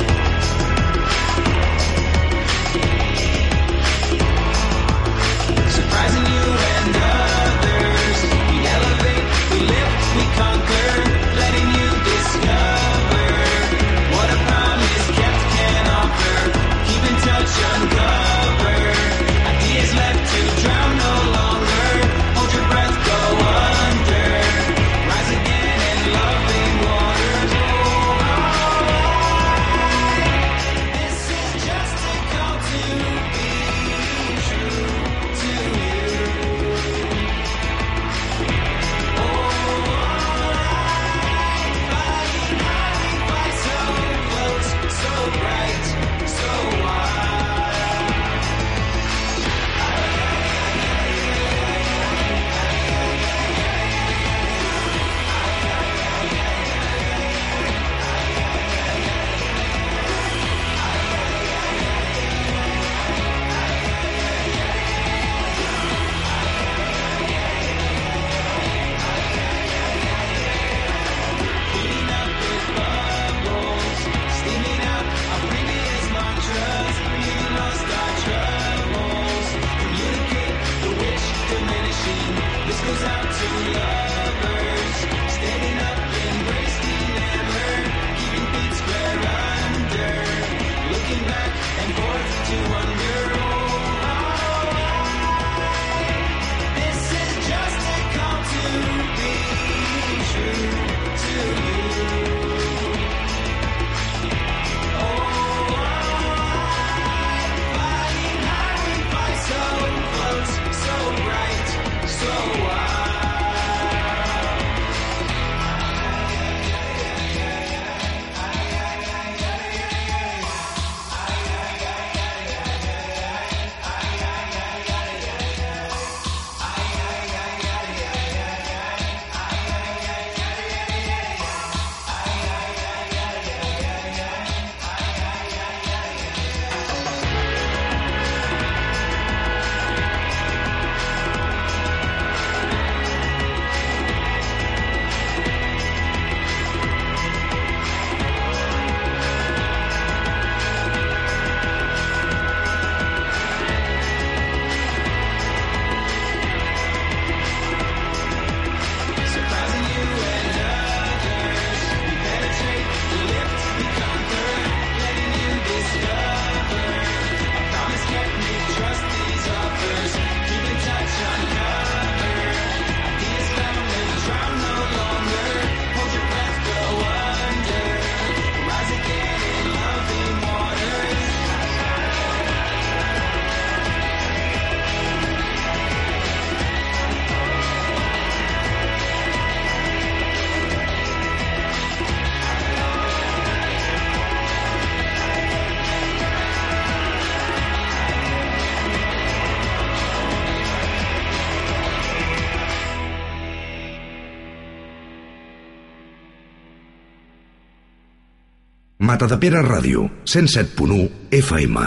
Matadepera Ràdio, 107.1 FM.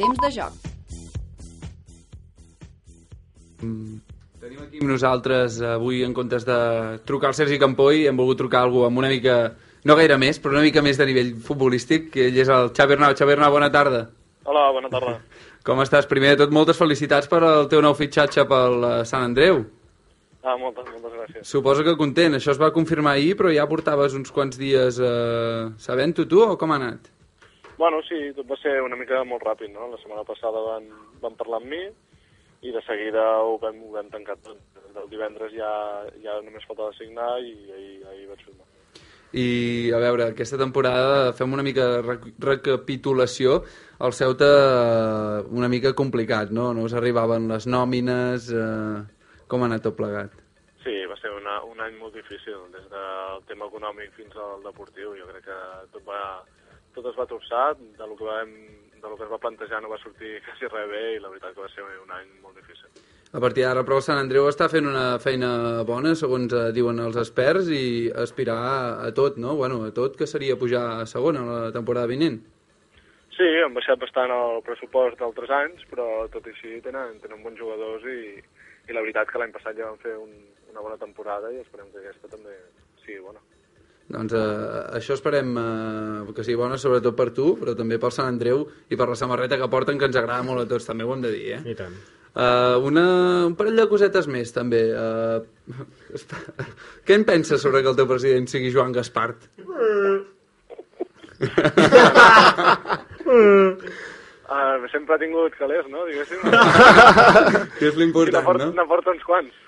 Temps de joc. Tenim aquí amb nosaltres avui, en comptes de trucar al Sergi Campoy, hem volgut trucar a algú amb una mica, no gaire més, però una mica més de nivell futbolístic, que ell és el Xavi Arnau. Xavi Arnau, bona tarda. Hola, bona tarda. Com estàs? Primer de tot, moltes felicitats per al teu nou fitxatge pel eh, Sant Andreu. Ah, moltes, moltes gràcies. Suposo que content. Això es va confirmar ahir, però ja portaves uns quants dies eh, sabent-ho tu o com ha anat? Bueno, sí, tot va ser una mica molt ràpid, no? La setmana passada van, van parlar amb mi i de seguida ho vam, ho vam tancar tot. El divendres ja, ja només faltava signar i ahir, ahir vaig firmar. I, a veure, aquesta temporada fem una mica de rec- recapitulació. El Ceuta eh, una mica complicat, no? No us arribaven les nòmines... Eh, com ha anat tot plegat? Sí, va ser una, un any molt difícil, des del tema econòmic fins al deportiu. Jo crec que tot, va, tot es va torçar, de lo que, vam, de lo que es va plantejar no va sortir (laughs) quasi res bé i la veritat que va ser un any molt difícil. A partir d'ara, però el Sant Andreu està fent una feina bona, segons eh, diuen els experts, i aspirar a, a tot, no? Bueno, a tot, que seria pujar a segona la temporada vinent. Sí, han baixat bastant el pressupost d'altres anys, però tot i així tenen, tenen bons jugadors i, i la veritat que l'any passat ja van fer un, una bona temporada i esperem que aquesta també sigui bona. Doncs eh, això esperem eh, que sigui bona, sobretot per tu, però també pel Sant Andreu i per la samarreta que porten, que ens agrada molt a tots, també ho hem de dir, eh? I tant. Uh, una, un parell de cosetes més, (laughs) també. Uh, què en penses sobre que el teu president sigui Joan Gaspart? Mm. Uh, sempre ha tingut calés, no? Diguéssim. (laughs) Que és l'important, I n'aporta- no? N'aporta uns quants.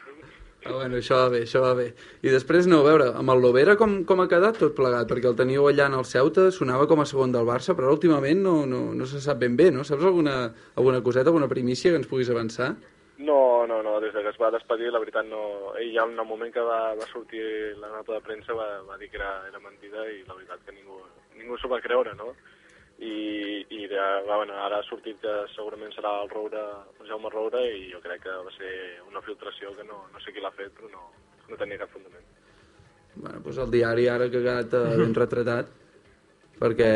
Ah, bueno, això va bé, això va bé. I després, no, a veure, amb el Lovera com, com ha quedat tot plegat? Perquè el teníeu allà en el Ceuta, sonava com a segon del Barça, però ara últimament no, no, no se sap ben bé, no? Saps alguna, alguna coseta, alguna primícia que ens puguis avançar? No, no, no, des de que es va despedir, la veritat no... Ell ja en el moment que va, va sortir la nota de premsa va, va dir que era, era mentida i la veritat que ningú, ningú s'ho va creure, no? I, i de, va, bueno, ara ha sortit que segurament serà el Roure, el Jaume Roure i jo crec que va ser una filtració que no, no sé qui l'ha fet, però no, no tenia cap fundament. Bueno, doncs el diari ara que ha quedat eh, ben retratat, perquè,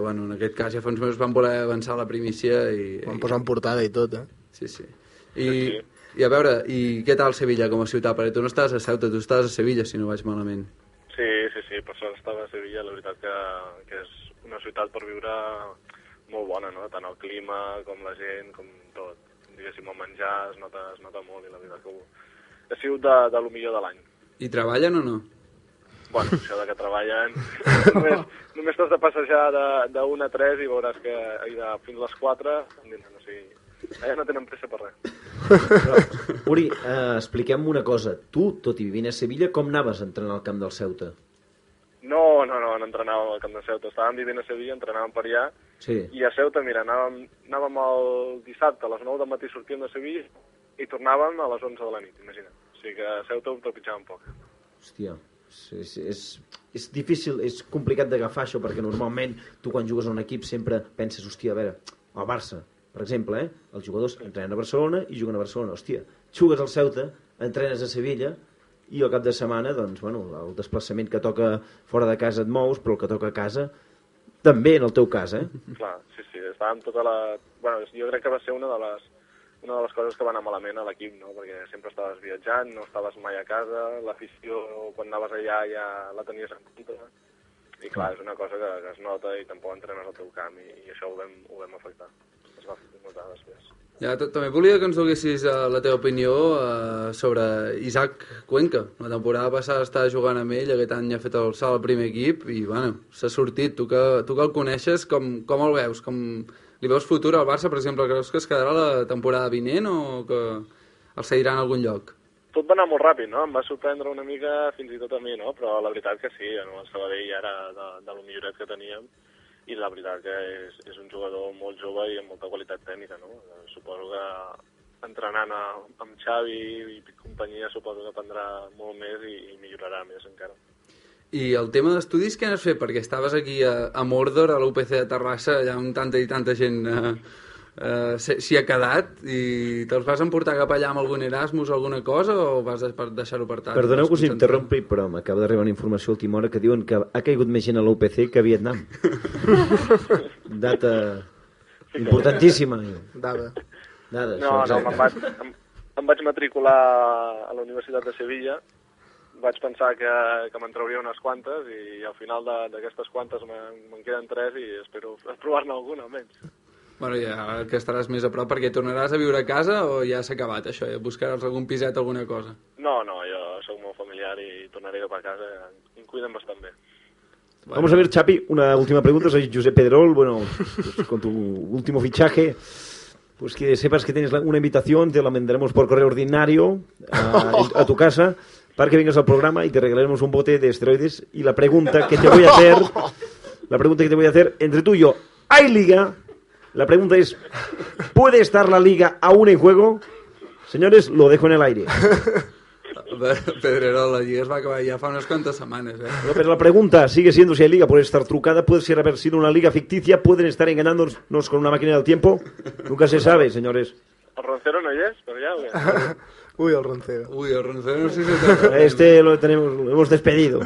bueno, en aquest cas ja fa uns mesos van voler avançar la primícia i... Van posar en portada i tot, eh? Sí, sí. I, I a veure, i què tal Sevilla com a ciutat? Perquè tu no estàs a Ceuta, tu estàs a Sevilla, si no vaig malament. Sí, sí, sí, per sort estava a Sevilla, la veritat que, que és una ciutat per viure molt bona, no? Tant el clima com la gent, com tot. Diguéssim, el menjar es nota, es nota molt i la veritat que ho... ha sigut de, de lo millor de l'any. I treballen o no? Bueno, això de que treballen... (laughs) només només t'has de passejar de- d'un a tres i veuràs que i de, fins les quatre... No, o sigui, allà no tenen pressa per res. Uri, eh, expliquem una cosa. Tu, tot i vivint a Sevilla, com anaves a entrenar al camp del Ceuta? No, no, no, no entrenàvem al Camp de Ceuta. Estàvem vivint a Sevilla, entrenàvem per allà Sí. I a Ceuta, mira, anàvem, anàvem el dissabte a les 9 del matí sortíem de Sevilla i tornàvem a les 11 de la nit, imagina't. O sigui que a Ceuta ho trepitjàvem poc. Hòstia, és, és, és, és difícil, és complicat d'agafar això, perquè normalment tu quan jugues a un equip sempre penses, hòstia, a veure, al Barça, per exemple, eh? els jugadors entrenen a Barcelona i juguen a Barcelona, hòstia, jugues al Ceuta, entrenes a Sevilla, i al cap de setmana, doncs, bueno, el desplaçament que toca fora de casa et mous, però el que toca a casa, també en el teu cas, eh? Clar, sí, sí, estàvem tota la... Bueno, jo crec que va ser una de les, una de les coses que va anar malament a l'equip, no? Perquè sempre estaves viatjant, no estaves mai a casa, l'afició, quan anaves allà ja la tenies en compte. I clar, és una cosa que, que es nota i tampoc entrenes al teu camp i, i això ho vam, ho vam afectar. Es va notar després. Ja, t- també volia que ens donessis eh, la teva opinió eh, sobre Isaac Cuenca. La temporada passada estava jugant amb ell, aquest any ha fet el salt al primer equip i, bueno, s'ha sortit. Tu que, tu que el coneixes, com, com el veus? Com, li veus futur al Barça, per exemple? Creus que es quedarà la temporada vinent o que el seguirà en algun lloc? tot va anar molt ràpid, no? Em va sorprendre una mica fins i tot a mi, no? Però la veritat que sí, no? el Sabadell era de, de lo milloret que teníem i la veritat que és, és un jugador molt jove i amb molta qualitat tècnica, no? Eh, Suposo que entrenant a, amb Xavi i companyia suposo que aprendrà molt més i, i millorarà més encara. I el tema d'estudis, què n'has fet? Perquè estaves aquí a, a Mordor, a l'UPC de Terrassa, allà amb tanta i tanta gent eh, eh, s'hi s'hi ha quedat i te'ls vas emportar cap allà amb algun Erasmus o alguna cosa o vas de- per- deixar-ho per tant? Perdoneu que us Vas concentrar- interrompi, però m'acaba d'arribar una informació a última hora que diuen que ha caigut més gent a l'UPC que a (laughs) Vietnam. Data importantíssima. Dada. Dades, No, no, exacte. me'n vaig, em, em vaig matricular a la Universitat de Sevilla, vaig pensar que, que me'n trauria unes quantes i al final de- d'aquestes quantes me'n me'n queden tres i espero provar-ne alguna almenys. Bueno, ja que estaràs més a prop perquè tornaràs a viure a casa o ja s'ha acabat això? Ja buscaràs algun piset, alguna (laughs) cosa? No, no, jo sóc molt familiar i tornaré cap a casa, em cuiden bastant bé. Vamos a ver, Chapi, una última pregunta. Soy Josep Pedrol. Bueno, pues, con tu último fichaje, pues que sepas que tienes la- una invitación, te la mandaremos por correo ordinario a, a tu casa para que vengas al programa y te regalaremos un bote de esteroides. Y la pregunta que te voy a hacer, la pregunta que te voy a hacer, entre tú y yo, ¿hay liga? La pregunta es, ¿puede estar la liga aún en juego? Señores, lo dejo en el aire. Pedrerol, la lliga es va acabar ja fa unes quantes setmanes, eh? No, pero la pregunta sigue siendo si hay liga puede estar trucada, puede ser haber sido una liga ficticia, pueden estar engañándonos con una máquina del tiempo. Nunca se sabe, señores. El roncero no hi és, però ja... bé. (laughs) Ui, el roncero. Ui, el roncero no sé si... A Este lo tenemos, lo hemos despedido.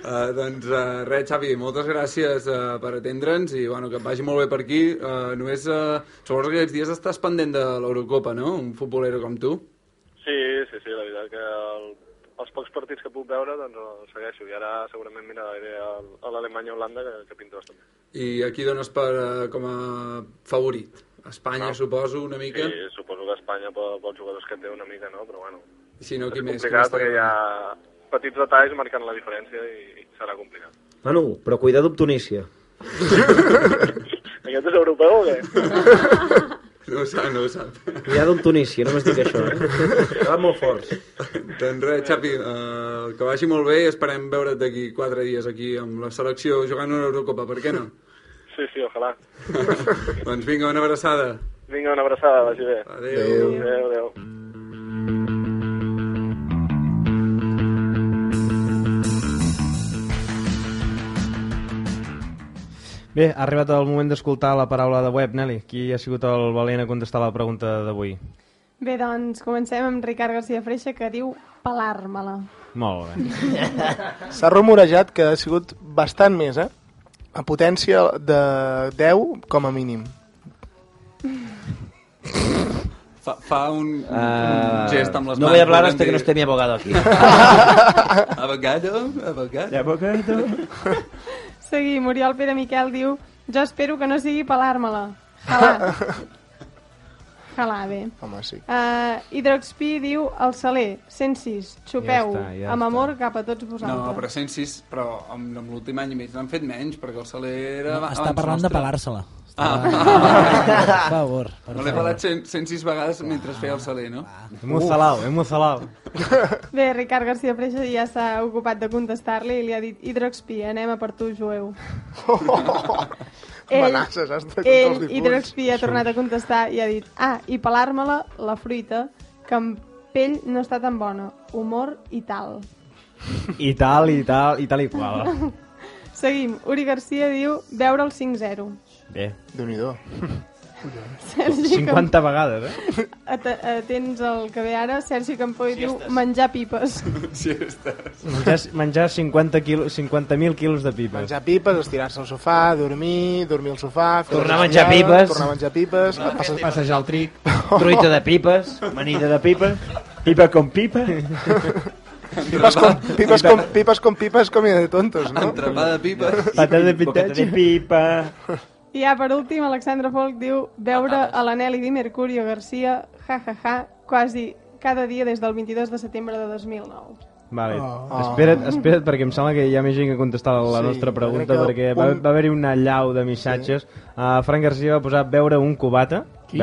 Uh, doncs uh, res, Xavi, moltes gràcies uh, per atendre'ns i bueno, que et vagi molt bé per aquí. Uh, només, uh, suposo que aquests dies estàs pendent de l'Eurocopa, no? Un futbolero com tu. Sí, sí, sí, la veritat que el, els pocs partits que puc veure doncs els segueixo i ara segurament miraré el- a l'Alemanya-Holanda que, que pinta bastant bé. I aquí dones per, uh, com a favorit. Espanya, no. suposo, una mica. Sí, suposo que Espanya pel- pels jugadors que té una mica, no? Però bueno, Sí. Si no, és qui més? Qui complicat més perquè hi ha petits detalls marcant la diferència i, i serà complicat. Manu, però cuidado amb Tunísia. Aquest és (laughs) europeu o què? No ho sap, no ho sap. Cuidado amb Tunísia, només dic això. Eh? Va molt forts. (laughs) Doncs res, Xapi, uh, que vagi molt bé i esperem veure't d'aquí quatre dies aquí amb la selecció jugant una Eurocopa, per què no? Sí, sí, ojalà. doncs vinga, una abraçada. Vinga, una abraçada, vagi bé. Adéu. Adéu, adéu. Bé, ha arribat el moment d'escoltar la paraula de web, Nelly. Qui ha sigut el valent a contestar la pregunta d'avui? Bé, doncs, comencem amb Ricard García Freixa, que diu pelar-me-la. Molt bé. S'ha rumorejat que ha sigut bastant més, eh? A potència de 10 com a mínim. Fa, fa un, uh, Ah, un gest amb les no mans. voy a hablar volent hasta que dir- no esté mi abogado aquí. (laughs) Abogado, abogado. Abogado. Seguim, Oriol Pere Miquel diu jo espero que no sigui pelar-me-la. (laughs) Jalà. Jalà, bé. Home, sí. Uh, Hidroxpi diu el saler, 106, xupeu, Ja està, ja amb està. amor cap a tots No, vosaltres. però 106, però amb, amb l'últim any i mig n'han fet menys, perquè el Saler era... No, abans està parlant de nostre. pelar-se-la. Ah. (laughs) Per favor, per Me l'he favor. Ah. pelat 100, 106 vegades mentre feia el Saler, no? Hemos salado, hemos salado. Bé, Ricard García Freixa ja s'ha ocupat de contestar-li i li ha dit Hidroxpi, anem a per tu, (laughs) jueu. Amenaces, has de contra els ell difunts. Hidroxpi ha tornat a contestar i ha dit Ah, i pelar-me-la, la fruita, que amb pell no està tan bona. Humor i tal. I tal, i tal, i tal i (laughs) qual. (laughs) Seguim. Uri Garcia diu veure el 5-0. Bé. (laughs) Déu-n'hi-do. Sergi 50 vegades, eh? (laughs) At atents al que ve ara. Sergi Campoi diu menjar pipes. Sí, estàs. Menjar, menjar 50 quilos, 50.000 quilos de pipes. Menjar pipes, estirar-se al sofà, dormir, dormir al sofà... fer Tornar a les menjar estirades, pipes. Tornar a menjar pipes... passes- passejar el tric. Truita de pipes, manida de pipes, pipa com pipa. Pipes com, (laughs) pipes com, pipes com pipes com hi ha de tontos, no? Entrapada de (laughs) pipes. Patat de pitatge i pipa. I ja, per últim, Alexandra Folk diu veure a la Nelly Di Mercurio Garcia, ja, ja, ja, quasi cada dia des del 22 de setembre de 2009. Vale. Oh. Ah. Espera't, espera't, perquè em sembla que hi ha més gent que contestar la Sí, nostra pregunta, crec que perquè va, un- va haver-hi una llau de missatges. Sí. Uh, Frank Garcia va posar veure un cubata. Qui?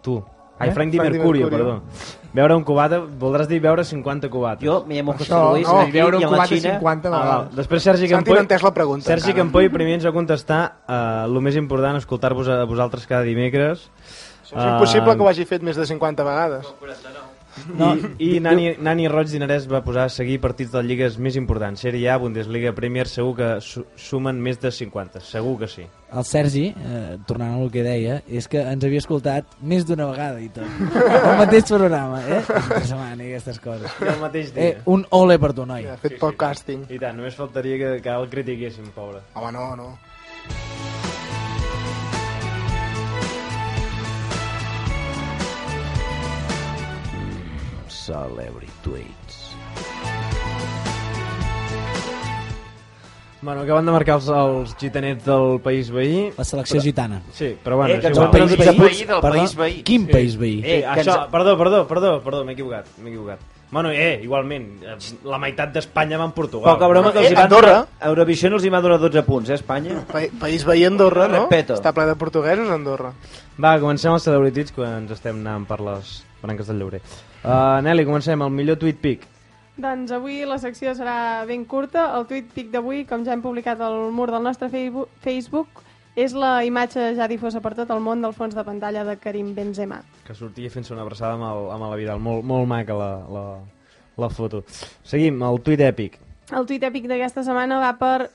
Tu. Ai, Eh? Frank Di Frank Di Mercurio, Mercurio. perdó. Veure un cubata, voldràs dir veure 50 cubates. Jo me llamo José Això, Luis, no, aquí veure un i a la cubata Xina- 50 Ah, val. vegades. Després Sergi Santi no Campoi... ha entès la pregunta, Sergi encara. Campoi primer ens va contestar el uh, més important, escoltar-vos a vosaltres cada dimecres. Eh, Ah. És impossible que ho hagi fet més de 50 vegades. No. I, i Nani, Nani Roig Dinarès va posar a seguir partits de les lligues més importants. Sèrie A, Bundesliga, Premier, segur que su sumen més de 50. Segur que sí. El Sergi, eh, tornant al que deia, és que ens havia escoltat més d'una vegada i tot. (laughs) El mateix programa, eh? Interessant, eh, aquestes coses. I el mateix dia. Eh, un ole per tu, noi. Ha fet poc càsting. I tant, només faltaria que, que el critiquéssim, pobre. Home, no, no. Celebrity Tweets. Bueno, acaben de marcar els, els gitanets del País Veí. La selecció gitana. Sí, però bueno... Eh, és que ens igual. han perdut País de Veí Puig, del perdó, País Veí. quin Sí. País Veí? Eh, Eh, que ens això, ha- perdó, perdó, perdó, perdó, m'he equivocat, m'he equivocat. Bueno, eh, igualment, eh, la meitat d'Espanya va en Portugal. Poca broma que els Eh, hi van... Andorra. A Eurovisió no els hi va donar 12 punts, eh, Espanya? Pa País veí Andorra, no? Repete. Està ple de portuguesos, Andorra. Va, comencem els celebrities quan ens estem anant per les branques del Llaurer. Uh, Nelly, comencem. El millor tweet pic. Doncs avui la secció serà ben curta. El tuit pic d'avui, com ja hem publicat al mur del nostre Facebook- Facebook, és la imatge ja difosa per tot el món del fons de pantalla de Karim Benzema. que sortia fent-se una abraçada amb, el, amb la Vidal. Molt, molt maca la, la, la foto. Seguim, el tuit èpic. El tuit èpic d'aquesta setmana va per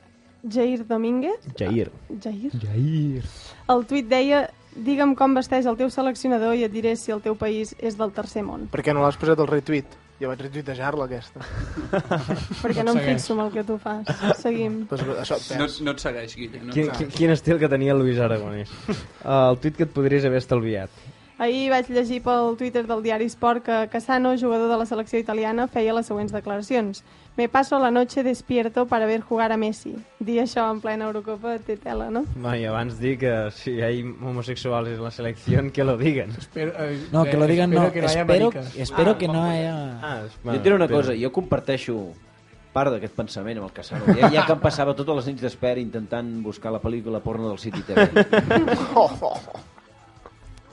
Jair Domínguez. Jair. Jair? Jair. El tuit deia Digue'm com vesteix el teu seleccionador i et diré si el teu país és del tercer món. Per què no l'has posat al retweet? Jo vaig retuitejar-la, (laughs) aquesta. Perquè no em fixo amb el que tu fas. Seguim. Pues, això et No, perds. no et segueix, Guilla. No Quin, et quin, segueix. quin estil que tenia Luis (laughs) Aragonès. Uh, el tuit que et podries haver estalviat. Ahir vaig llegir pel Twitter del diari Sport que Cassano, jugador de la selecció italiana, feia les següents declaracions. Me paso la noche despierto para ver jugar a Messi. Dir això en plena Eurocopa té tela, no? Bueno, I abans dir que si hi ha homosexuals en la selecció, que lo (laughs) digan. Espero, eh, No, que lo digan no. Espero que no haya Espero, maricas. espero Ah, que no haya... Ah, Jo et diré una cosa, jo comparteixo part d'aquest pensament amb el Casano. Ja, ja que em passava totes les nits d'espera intentant buscar la pel·lícula porno del City TV. (laughs)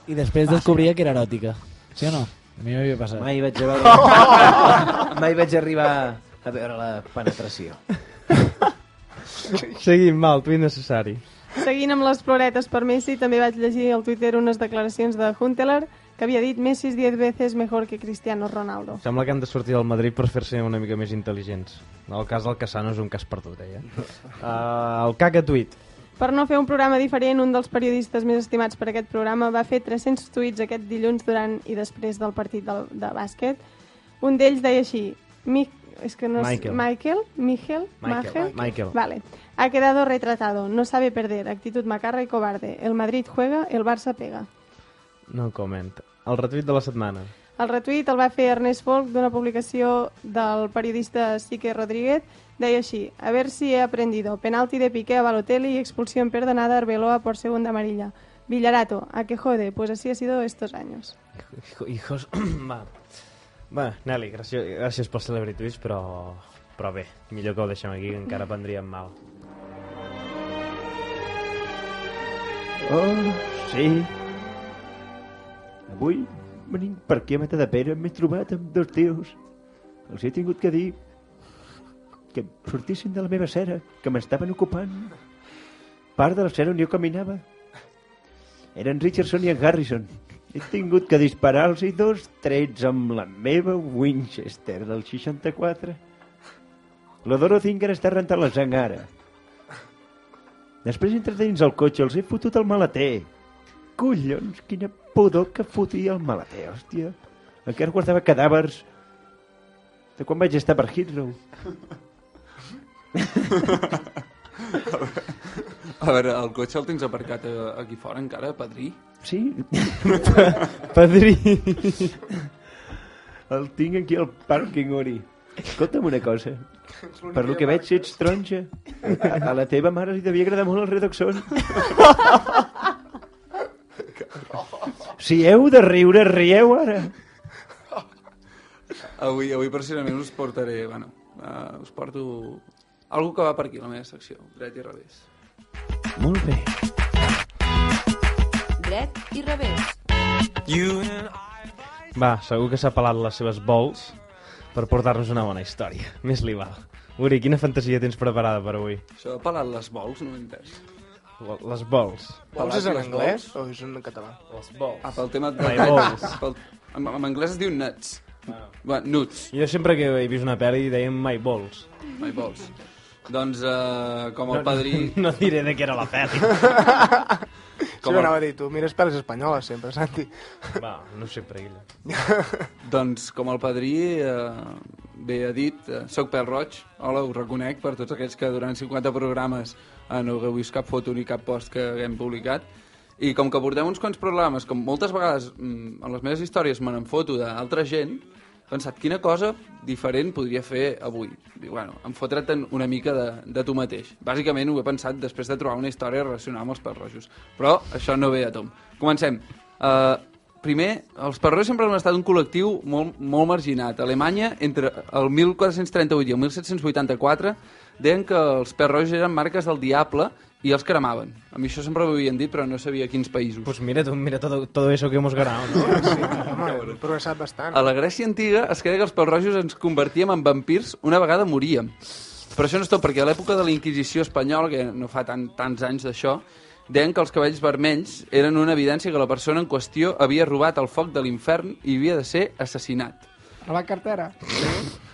I després descobria que era eròtica. Sí o no? A mi m'havia passat. Mai vaig, a veure... Mai vaig arribar a veure la penetració. Seguim, va, el tuit necessari. Seguint amb les floretes per Messi, també vaig llegir al Twitter unes declaracions de Huntelaar que havia dit Messi es 10 veces mejor que Cristiano Ronaldo. Sembla que han de sortir del Madrid per fer-se una mica més intel·ligents. El cas del Casano és un cas perdut, (laughs) eh? ja. Uh, el caca tuit. Per no fer un programa diferent, un dels periodistes més estimats per aquest programa va fer 300 tuits aquest dilluns durant i després del partit del, de bàsquet. Un d'ells deia així, Mi és que no Michael. És, Michael, Michael, Michael, Magel? Michael. Vale. Ha quedado retratado, no sabe perder, actitud macarra y cobarde. El Madrid juega, el Barça pega. No comment. El retuit de la setmana. El retuit el va fer Ernest Folk d'una publicació del periodista Sique Rodríguez. Deia així, a ver si he aprendido. Penalti de Piqué a Balotelli y expulsión perdonada a Arbeloa por segunda amarilla. Villarato, a que jode, pues así ha sido estos años. Hijo- Hijos... (clears throat) va. Va, Nelly, gràcies, gràcies pels celebrities, però... Però bé, millor que ho deixem aquí, que encara prendríem mal. Oh, sí. Avui, venint per aquí a Mata de Pere, m'he trobat amb dos tios. Els he tingut que dir que em sortissin de la meva cera, que m'estaven ocupant. Part de la cera on jo caminava. Eren Richardson i en Harrison. He tingut que disparar-los i dos trets amb la meva Winchester del 64. La Doro Zinger està rentant la sang ara. Després entraré dins el cotxe, els he fotut el maleter. Collons, quina pudor que fotia el maleter, hòstia. Encara guardava cadàvers de quan vaig estar per Heathrow. A veure, el cotxe el tens aparcat eh, aquí fora encara, (laughs) Padrí? (laughs) Sí. Padrí. El tinc aquí al pàrquing, Uri. Escolta'm una cosa. Per lo que veig, ets taronja. A, a la teva mare li devia agradar molt el redoxon. Si heu de riure, rieu ara. Avui, avui precisament us portaré, bueno, uh, us porto algo que va per aquí, la meva secció, dret i revés. Molt bé. Dret i revés. Va, segur que s'ha pelat les seves vols per portar-nos una bona història. Més li val. Uri, quina fantasia tens preparada per avui? Això de pelar les vols, no ho he entès. Les vols. Vols és en anglès o és en català? Les vols. Ah, pel tema... My balls. pel, en, en anglès es diu nuts. Ah. Va, nuts. Jo sempre que he vist una pel·li dèiem My Balls. My balls. Doncs eh, com el padrí... No, no diré de què era la pel·li. Com sí, ho anava a dir, tu mires pel·lis espanyoles sempre, Santi. Va, no sempre ella. Doncs com el padrí eh, bé ha dit, eh, soc pèl roig, hola, ho reconec per tots aquells que durant 50 programes eh, no heu vist cap foto ni cap post que haguem publicat. I com que portem uns quants programes, com moltes vegades mm, en les meves històries me n'enfoto d'altra gent, he pensat, quina cosa diferent podria fer avui? Dic, bueno, em fotre't una mica de, de tu mateix. Bàsicament ho he pensat després de trobar una història relacionada amb els perrojos. Però això no ve a tom. Comencem. Eh, primer, els perros sempre han estat un col·lectiu molt, molt marginat. A Alemanya, entre el 1438 i el 1784, deien que els perros eren marques del diable i els cremaven. A mi això sempre ho havien dit, però no sabia a quins països. Pues mira, tu, mira todo, todo eso que hemos ganado. (laughs) ¿no? Home, hem progressat bastant. A la Grècia antiga es creia que els pelrojos ens convertíem en vampirs una vegada moríem. Però això no és tot, perquè a l'època de la Inquisició espanyola, que no fa tant, tants anys d'això, deien que els cabells vermells eren una evidència que la persona en qüestió havia robat el foc de l'infern i havia de ser assassinat. A la cartera.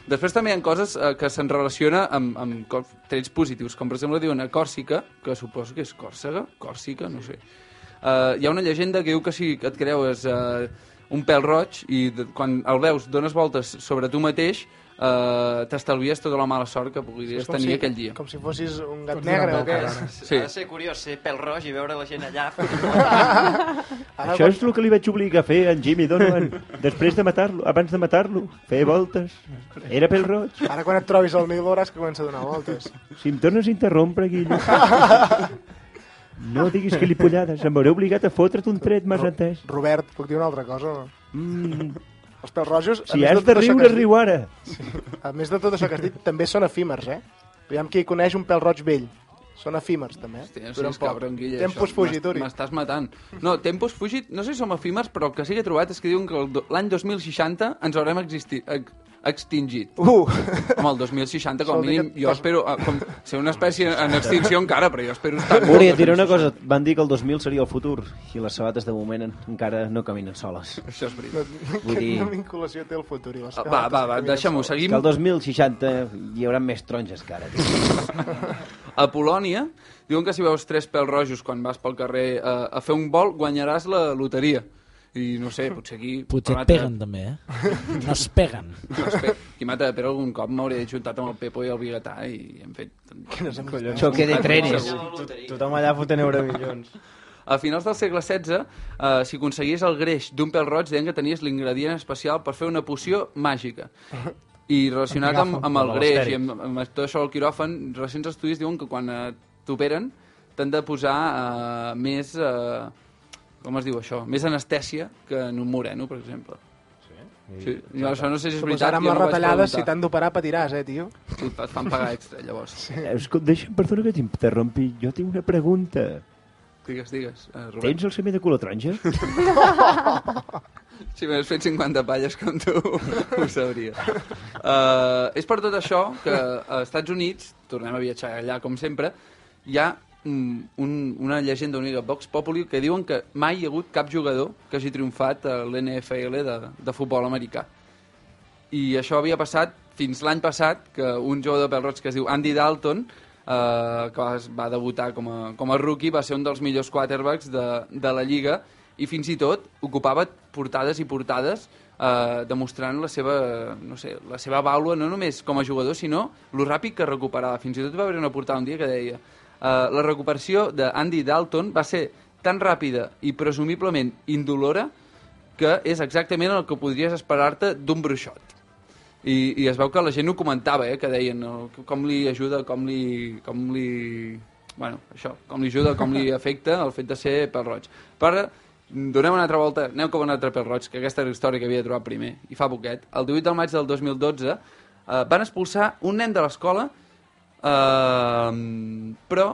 Després també hi ha coses eh, que se'n relaciona amb, amb co- trets positius, com per exemple diuen a Còrsica, que suposo que és Còrsega, Còrsica, no sé. Eh, hi ha una llegenda que diu que si et creus eh, un pèl roig i de, quan el veus dones voltes sobre tu mateix, eh, t'estalvies tota la mala sort que És podries com tenir si- aquell dia. Com si fossis un gat negre o què? Sí. Ha de ser curiós ser pèl roig i veure la gent allà. (laughs) (laughs) Això és el que li vaig obligar a fer a en Jimmy Donovan després de matar-lo, abans de matar-lo, fer voltes. Era pel roig. Ara quan et trobis al Nil veuràs que comença a donar voltes. Si em tornes a interrompre, Guillo, no diguis que li pollades, em veuré obligat a fotre't un tret, m'has entès? Robert, puc dir una altra cosa? o No? Mm, Els pèls rojos... a si més has tot de això que riure, has dit- riu ara. A més de tot això que has dit, també són efímers, eh? Aviam qui coneix un pèl roig vell. Són efímers, també. Hòstia, no Duren siguis poc. cabron, Guille. Tempus això. fugitori. M'es- M'estàs matant. No, Tempus Fugit, no sé si som efímers, però el que sí que he trobat és que diuen que el do- l'any 2060 ens haurem existi, ex, extingit. Uh! Home, el 2060, com a Sol dir mínim, que- jo espero eh, com, ser una espècie en extinció encara, però jo espero estar... Uri, et diré una cosa. Van dir que el 2000 seria el futur i les sabates de moment en- encara no caminen soles. Això és No, veritat. Vull dir- Quina vinculació té el futur i les eh? Va, va, va, sabates que deixa'm-ho, seguim. Que el 2060 hi haurà més taronges que ara. A Polònia diuen que si veus tres pèls rojos quan vas pel carrer a, a fer un vol, guanyaràs la loteria. I no sé, potser aquí... Potser et per altre- peguen, també, eh? No es peguen. No, espera, Mm. qui m'ha de però algun cop m'hauria juntat amb el Pepo i el Bigatà i hem fet... Quines collons. Choque de trenes. Tothom allà fotent euromillons. A finals del segle XVI, eh, si aconseguies el greix d'un pèl roig, deien que tenies l'ingredient especial per fer una poció màgica. I relacionat amb, amb el greix i amb, amb tot això del quiròfan, recents estudis diuen que quan eh, t'operen t'han de posar eh, més... Eh, com es diu això? Més anestèsia que en un moreno, per exemple. Sí? sí. Jo això no sé si és Però veritat. Ara amb jo les no vaig retallades, si preguntar. t'han d'operar, patiràs, eh, tio? Sí, et fan pagar extra, llavors. Sí. Escolta, deixa'm, perdona que t'interrompi, jo tinc una pregunta. Digues, digues, eh, Robert. Tens el semer de color taronja? (laughs) Si m'hagués fet 50 palles com tu, (laughs) ho sabria. Uh, és per tot això que a Estats Units, tornem a viatjar allà com sempre, hi ha mm, un, una llegenda única, Vox Populi, que diuen que mai hi ha hagut cap jugador que hagi triomfat a l'NFL de, de futbol americà. I això havia passat fins l'any passat, que un jugador de pèl roig que es diu Andy Dalton, eh, que va, va debutar com a, com a rookie, va ser un dels millors quarterbacks de, de la Lliga i fins i tot ocupava portades i portades eh, demostrant la seva, no sé, la seva vàlua, no només com a jugador, sinó lo ràpid que recuperava. Fins i tot va haver una portada un dia que deia eh, la recuperació d'Andy Dalton va ser tan ràpida i presumiblement indolora que és exactament el que podries esperar-te d'un bruixot. I, I es veu que la gent ho comentava, eh, que deien no, com li ajuda, com li... Com li... Bueno, això, com li ajuda, com li afecta el fet de ser pel roig. Però donem una altra volta, aneu com un altre pel roig, que aquesta era la història que havia trobat primer, i fa poquet. El 18 del maig del 2012 eh, van expulsar un nen de l'escola, eh, però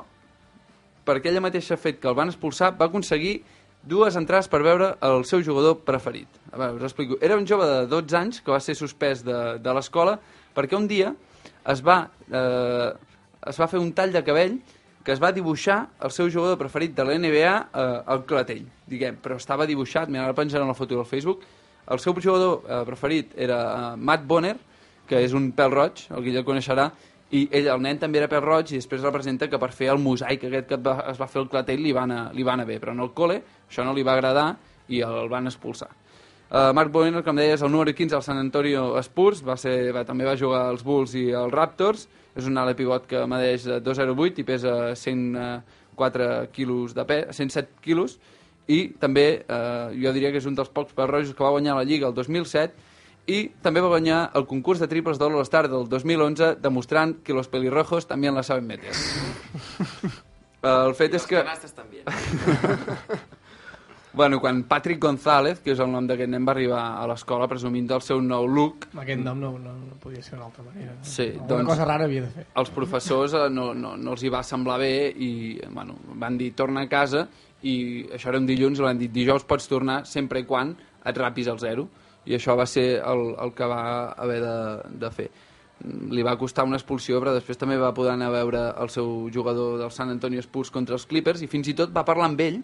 per aquella mateixa fet que el van expulsar, va aconseguir dues entrades per veure el seu jugador preferit. A veure, us explico. Era un jove de 12 anys que va ser suspès de, de l'escola perquè un dia es va, eh, es va fer un tall de cabell que es va dibuixar el seu jugador preferit de la NBA eh, al clatell, diguem, però estava dibuixat, mira, ara penjarem la foto del Facebook, El seu jugador eh, preferit era eh, Matt Bonner, que és un pèl roig, el Guillem coneixerà, i ell, el nen també era pèl roig i després representa que per fer el mosaic aquest que et va, es va fer el clatell li va, anar, li va anar bé, però en el col·le això no li va agradar i el van expulsar. Uh, Mark Bonner, com deies, el número 15 al San Antonio Spurs, va ser, va, també va jugar als Bulls i als Raptors, és un ala pivot que medeix de 2,08 i pesa 104 quilos de pes, 107 quilos, i també eh, jo diria que és un dels pocs pèls rojos que va guanyar la Lliga el 2007 i també va guanyar el concurs de triples de l'All-Star del 2011 demostrant que los pelirrojos també la saben (laughs) meter. El I fet és los que... canastes també. (laughs) bueno, quan Patrick González, que és el nom d'aquest nen, va arribar a l'escola presumint del seu nou look, (laughs) Aquest nom no, no, no podia ser d'una altra manera. Sí, Alguna doncs, cosa rara havia de fer. Els professors eh, no, no, no els hi va semblar bé i eh, bueno, van dir torna a casa i això era un dilluns i van dir dijous pots tornar sempre i quan et rapis al zero i això va ser el, el que va haver de, de fer. Mm, Li va costar una expulsió però després també va poder anar a veure el seu jugador del San Antonio Spurs contra els Clippers i fins i tot va parlar amb ell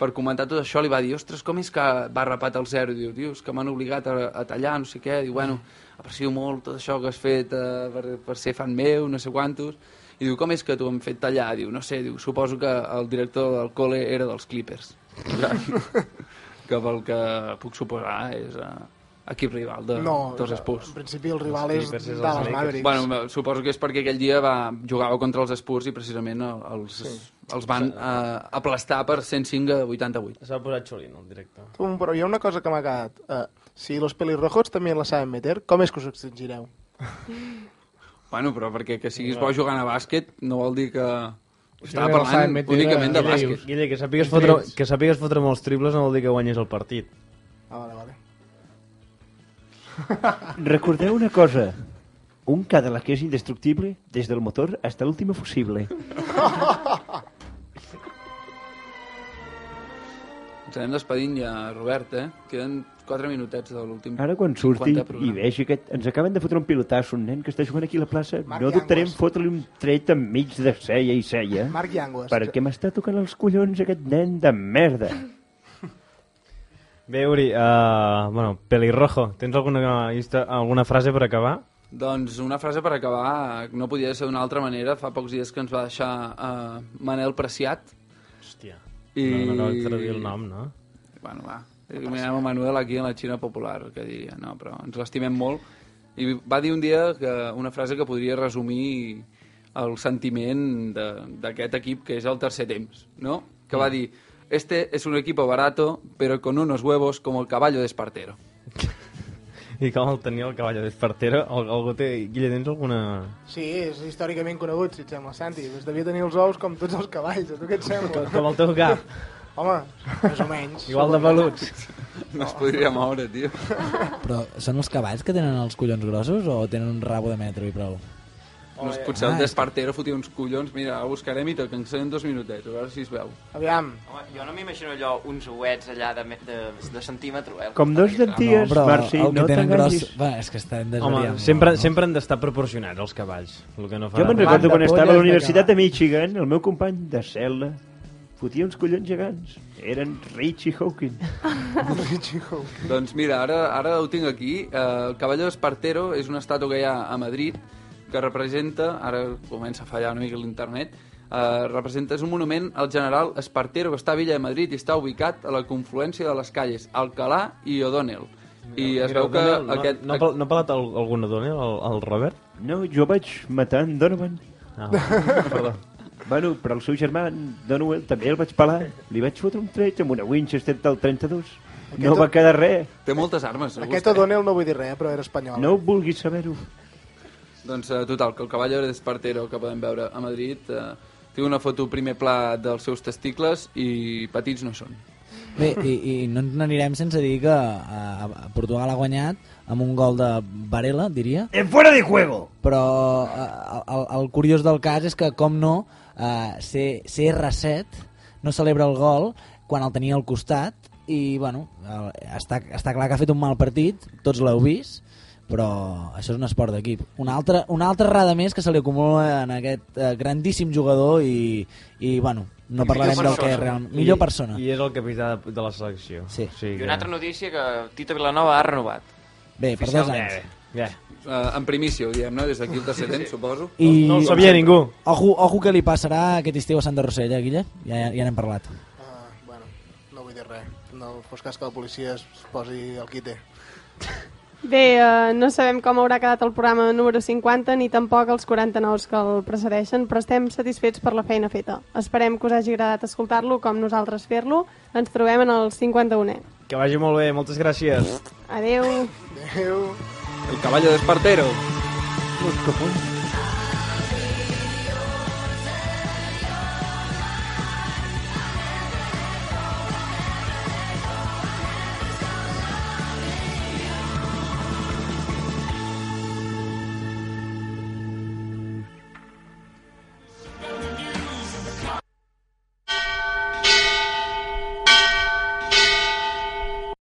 per comentar tot això, li va dir, ostres, com és que va rapat al zero? Diu, diu, és que m'han obligat a, a tallar, no sé què. Diu, bueno, aprecio molt tot això que has fet eh, per, per ser fan meu, no sé quantos. I diu, com és que t'ho han fet tallar? Diu, no sé, diu, suposo que el director del col·le era dels Clippers. (laughs) que pel que puc suposar és eh, equip rival de, No, dels en Spurs. principi el rival és de les Mavericks. Bueno, suposo que és perquè aquell dia va, jugava contra els Spurs i precisament el- els, sí. Sí. els van eh, aplastar per 105 a 88. Es va posar xulino, el directe. Um, però hi ha una cosa que m'ha quedat. Uh, si los pelirrojos també la saben meter, com és que us extingireu? Bueno, però perquè que siguis bo Clar. jugant a bàsquet no vol dir que... Estava que no saben parlant meter únicament de a- bàsquet. Guille, que sàpigues, fotre, que sàpigues fotre molts triples no vol dir que guanyis el partit. Ah, vale, vale. (laughs) Recordeu una cosa. Un Cadillac és indestructible des del motor hasta l'última fusible. Ens anem despedint ja, Robert, eh? Queden 4 minutets de l'últim Ara quan surti 50 i programa. vegi que ens acaben de fotre un pilotasso, un nen que està jugant aquí a la plaça, Marc no dubtarem fotre-li un tret enmig de ceia i ceia. Marc Yanguas. Perquè m'està tocant els collons aquest nen de merda. Bé, Uri, uh, bueno, pelirrojo, tens alguna, histò- alguna frase per acabar? Doncs una frase per acabar, eh, no podia ser d'una altra manera. Fa pocs dies que ens va deixar eh, Manel Preciat. Hòstia. I... No, no cal traduir el nom, no? Bueno, va. Mirem a Manuel aquí a la Xina popular, que diria. No, però ens l'estimem molt. I va dir un dia que una frase que podria resumir el sentiment de- d'aquest equip, que és el tercer temps, no? Que Mm. va dir, este es un equipo barato, pero con unos huevos como el caballo de Espartero. I com el tenia el cavall d'espartera? El, algú té... Guille, tens alguna... Sí, és històricament conegut, si et sembla, Santi. Pues devia tenir els ous com tots els cavalls, a tu què et sembla? Com el teu cap. Home, més o menys. Igual de peluts. (laughs) No es podria moure, tio. Però són els cavalls que tenen els collons grossos o tenen un rabo de metro i prou? No, potser Ah, el d'Espartero fotia uns collons. Mira, el buscarem i te'l cansarem dos minutets, a veure si es veu. Aviam. Home, jo no m'imagino allò, uns ouets allà de, me- de, de centímetre, eh? Com dos denties, però Marci, el que no tenen t'enganyis. gros- Va, és que estem Home, desvariant. sempre, sempre han d'estar proporcionats els cavalls. El que no Jo me'n recordo quan estava a la Universitat de Michigan, el meu company de cel·la fotia uns collons gegants. Eren Richie Hawkins. Richie Hawkins. Doncs mira, ara, ara ho tinc aquí. Eh, el Caballo d'Espartero és una estàtua que hi ha a Madrid que representa, ara comença a fallar una mica l'internet, eh, representa, és un monument al general Espartero que està a Villa de Madrid i està ubicat a la confluència de les calles Alcalà i O'Donnell. I es veu que O'Donnell, no- aquest... No, no, no ha parlat al- algun O'Donnell, el, el Robert? No, jo vaig matar en Donovan. (laughs) Ah, perdó. Bueno, però el seu germà, en Donovan, també el vaig pelar. Li vaig fotre un tret amb una Winchester del 32. No va quedar res. Té moltes armes. no? Aquest O'Donnell no vull dir res, eh, però era espanyol. No vulguis saber-ho. Doncs eh, total, que el cavall d'Espartero que podem veure a Madrid eh, té una foto primer pla dels seus testicles i petits no són. Bé, i, i no ens n'anirem sense dir que eh, a, a Portugal ha guanyat amb un gol de Varela, diria. ¡En fuera de juego! Però eh, el, el curiós del cas és que, com no, eh, C, CR7 no celebra el gol quan el tenia al costat i, bueno, el, està, està clar que ha fet un mal partit, tots l'heu vist, però això és un esport d'equip. Una altra, una altra errada més que se li acumula en aquest eh, grandíssim jugador i, i bueno, no parlarem del que és realment... Millor persona. I, I és el capità de, de la selecció. Sí. O sigui I una altra notícia que Tito Vilanova ha renovat. Bé, per dos anys. Bé, Uh, en primícia, ho diem, no? Des d'aquí el tercer temps, suposo. I... Com sempre. Ojo, ojo que li passarà aquest estiu a Santa Rosella, Guille. Ja, ja n'hem parlat. No vull dir res. No fos cas que la policia es posi el quite. Bé, eh, no sabem com haurà quedat el programa número 50 ni tampoc els 49 que el precedeixen, però estem satisfets per la feina feta. Esperem que us hagi agradat escoltar-lo com nosaltres fer-lo. Ens trobem en el 51è. que vagi molt bé, moltes gràcies. Adeu. Adeu. El caballo de Espartero. Los copones.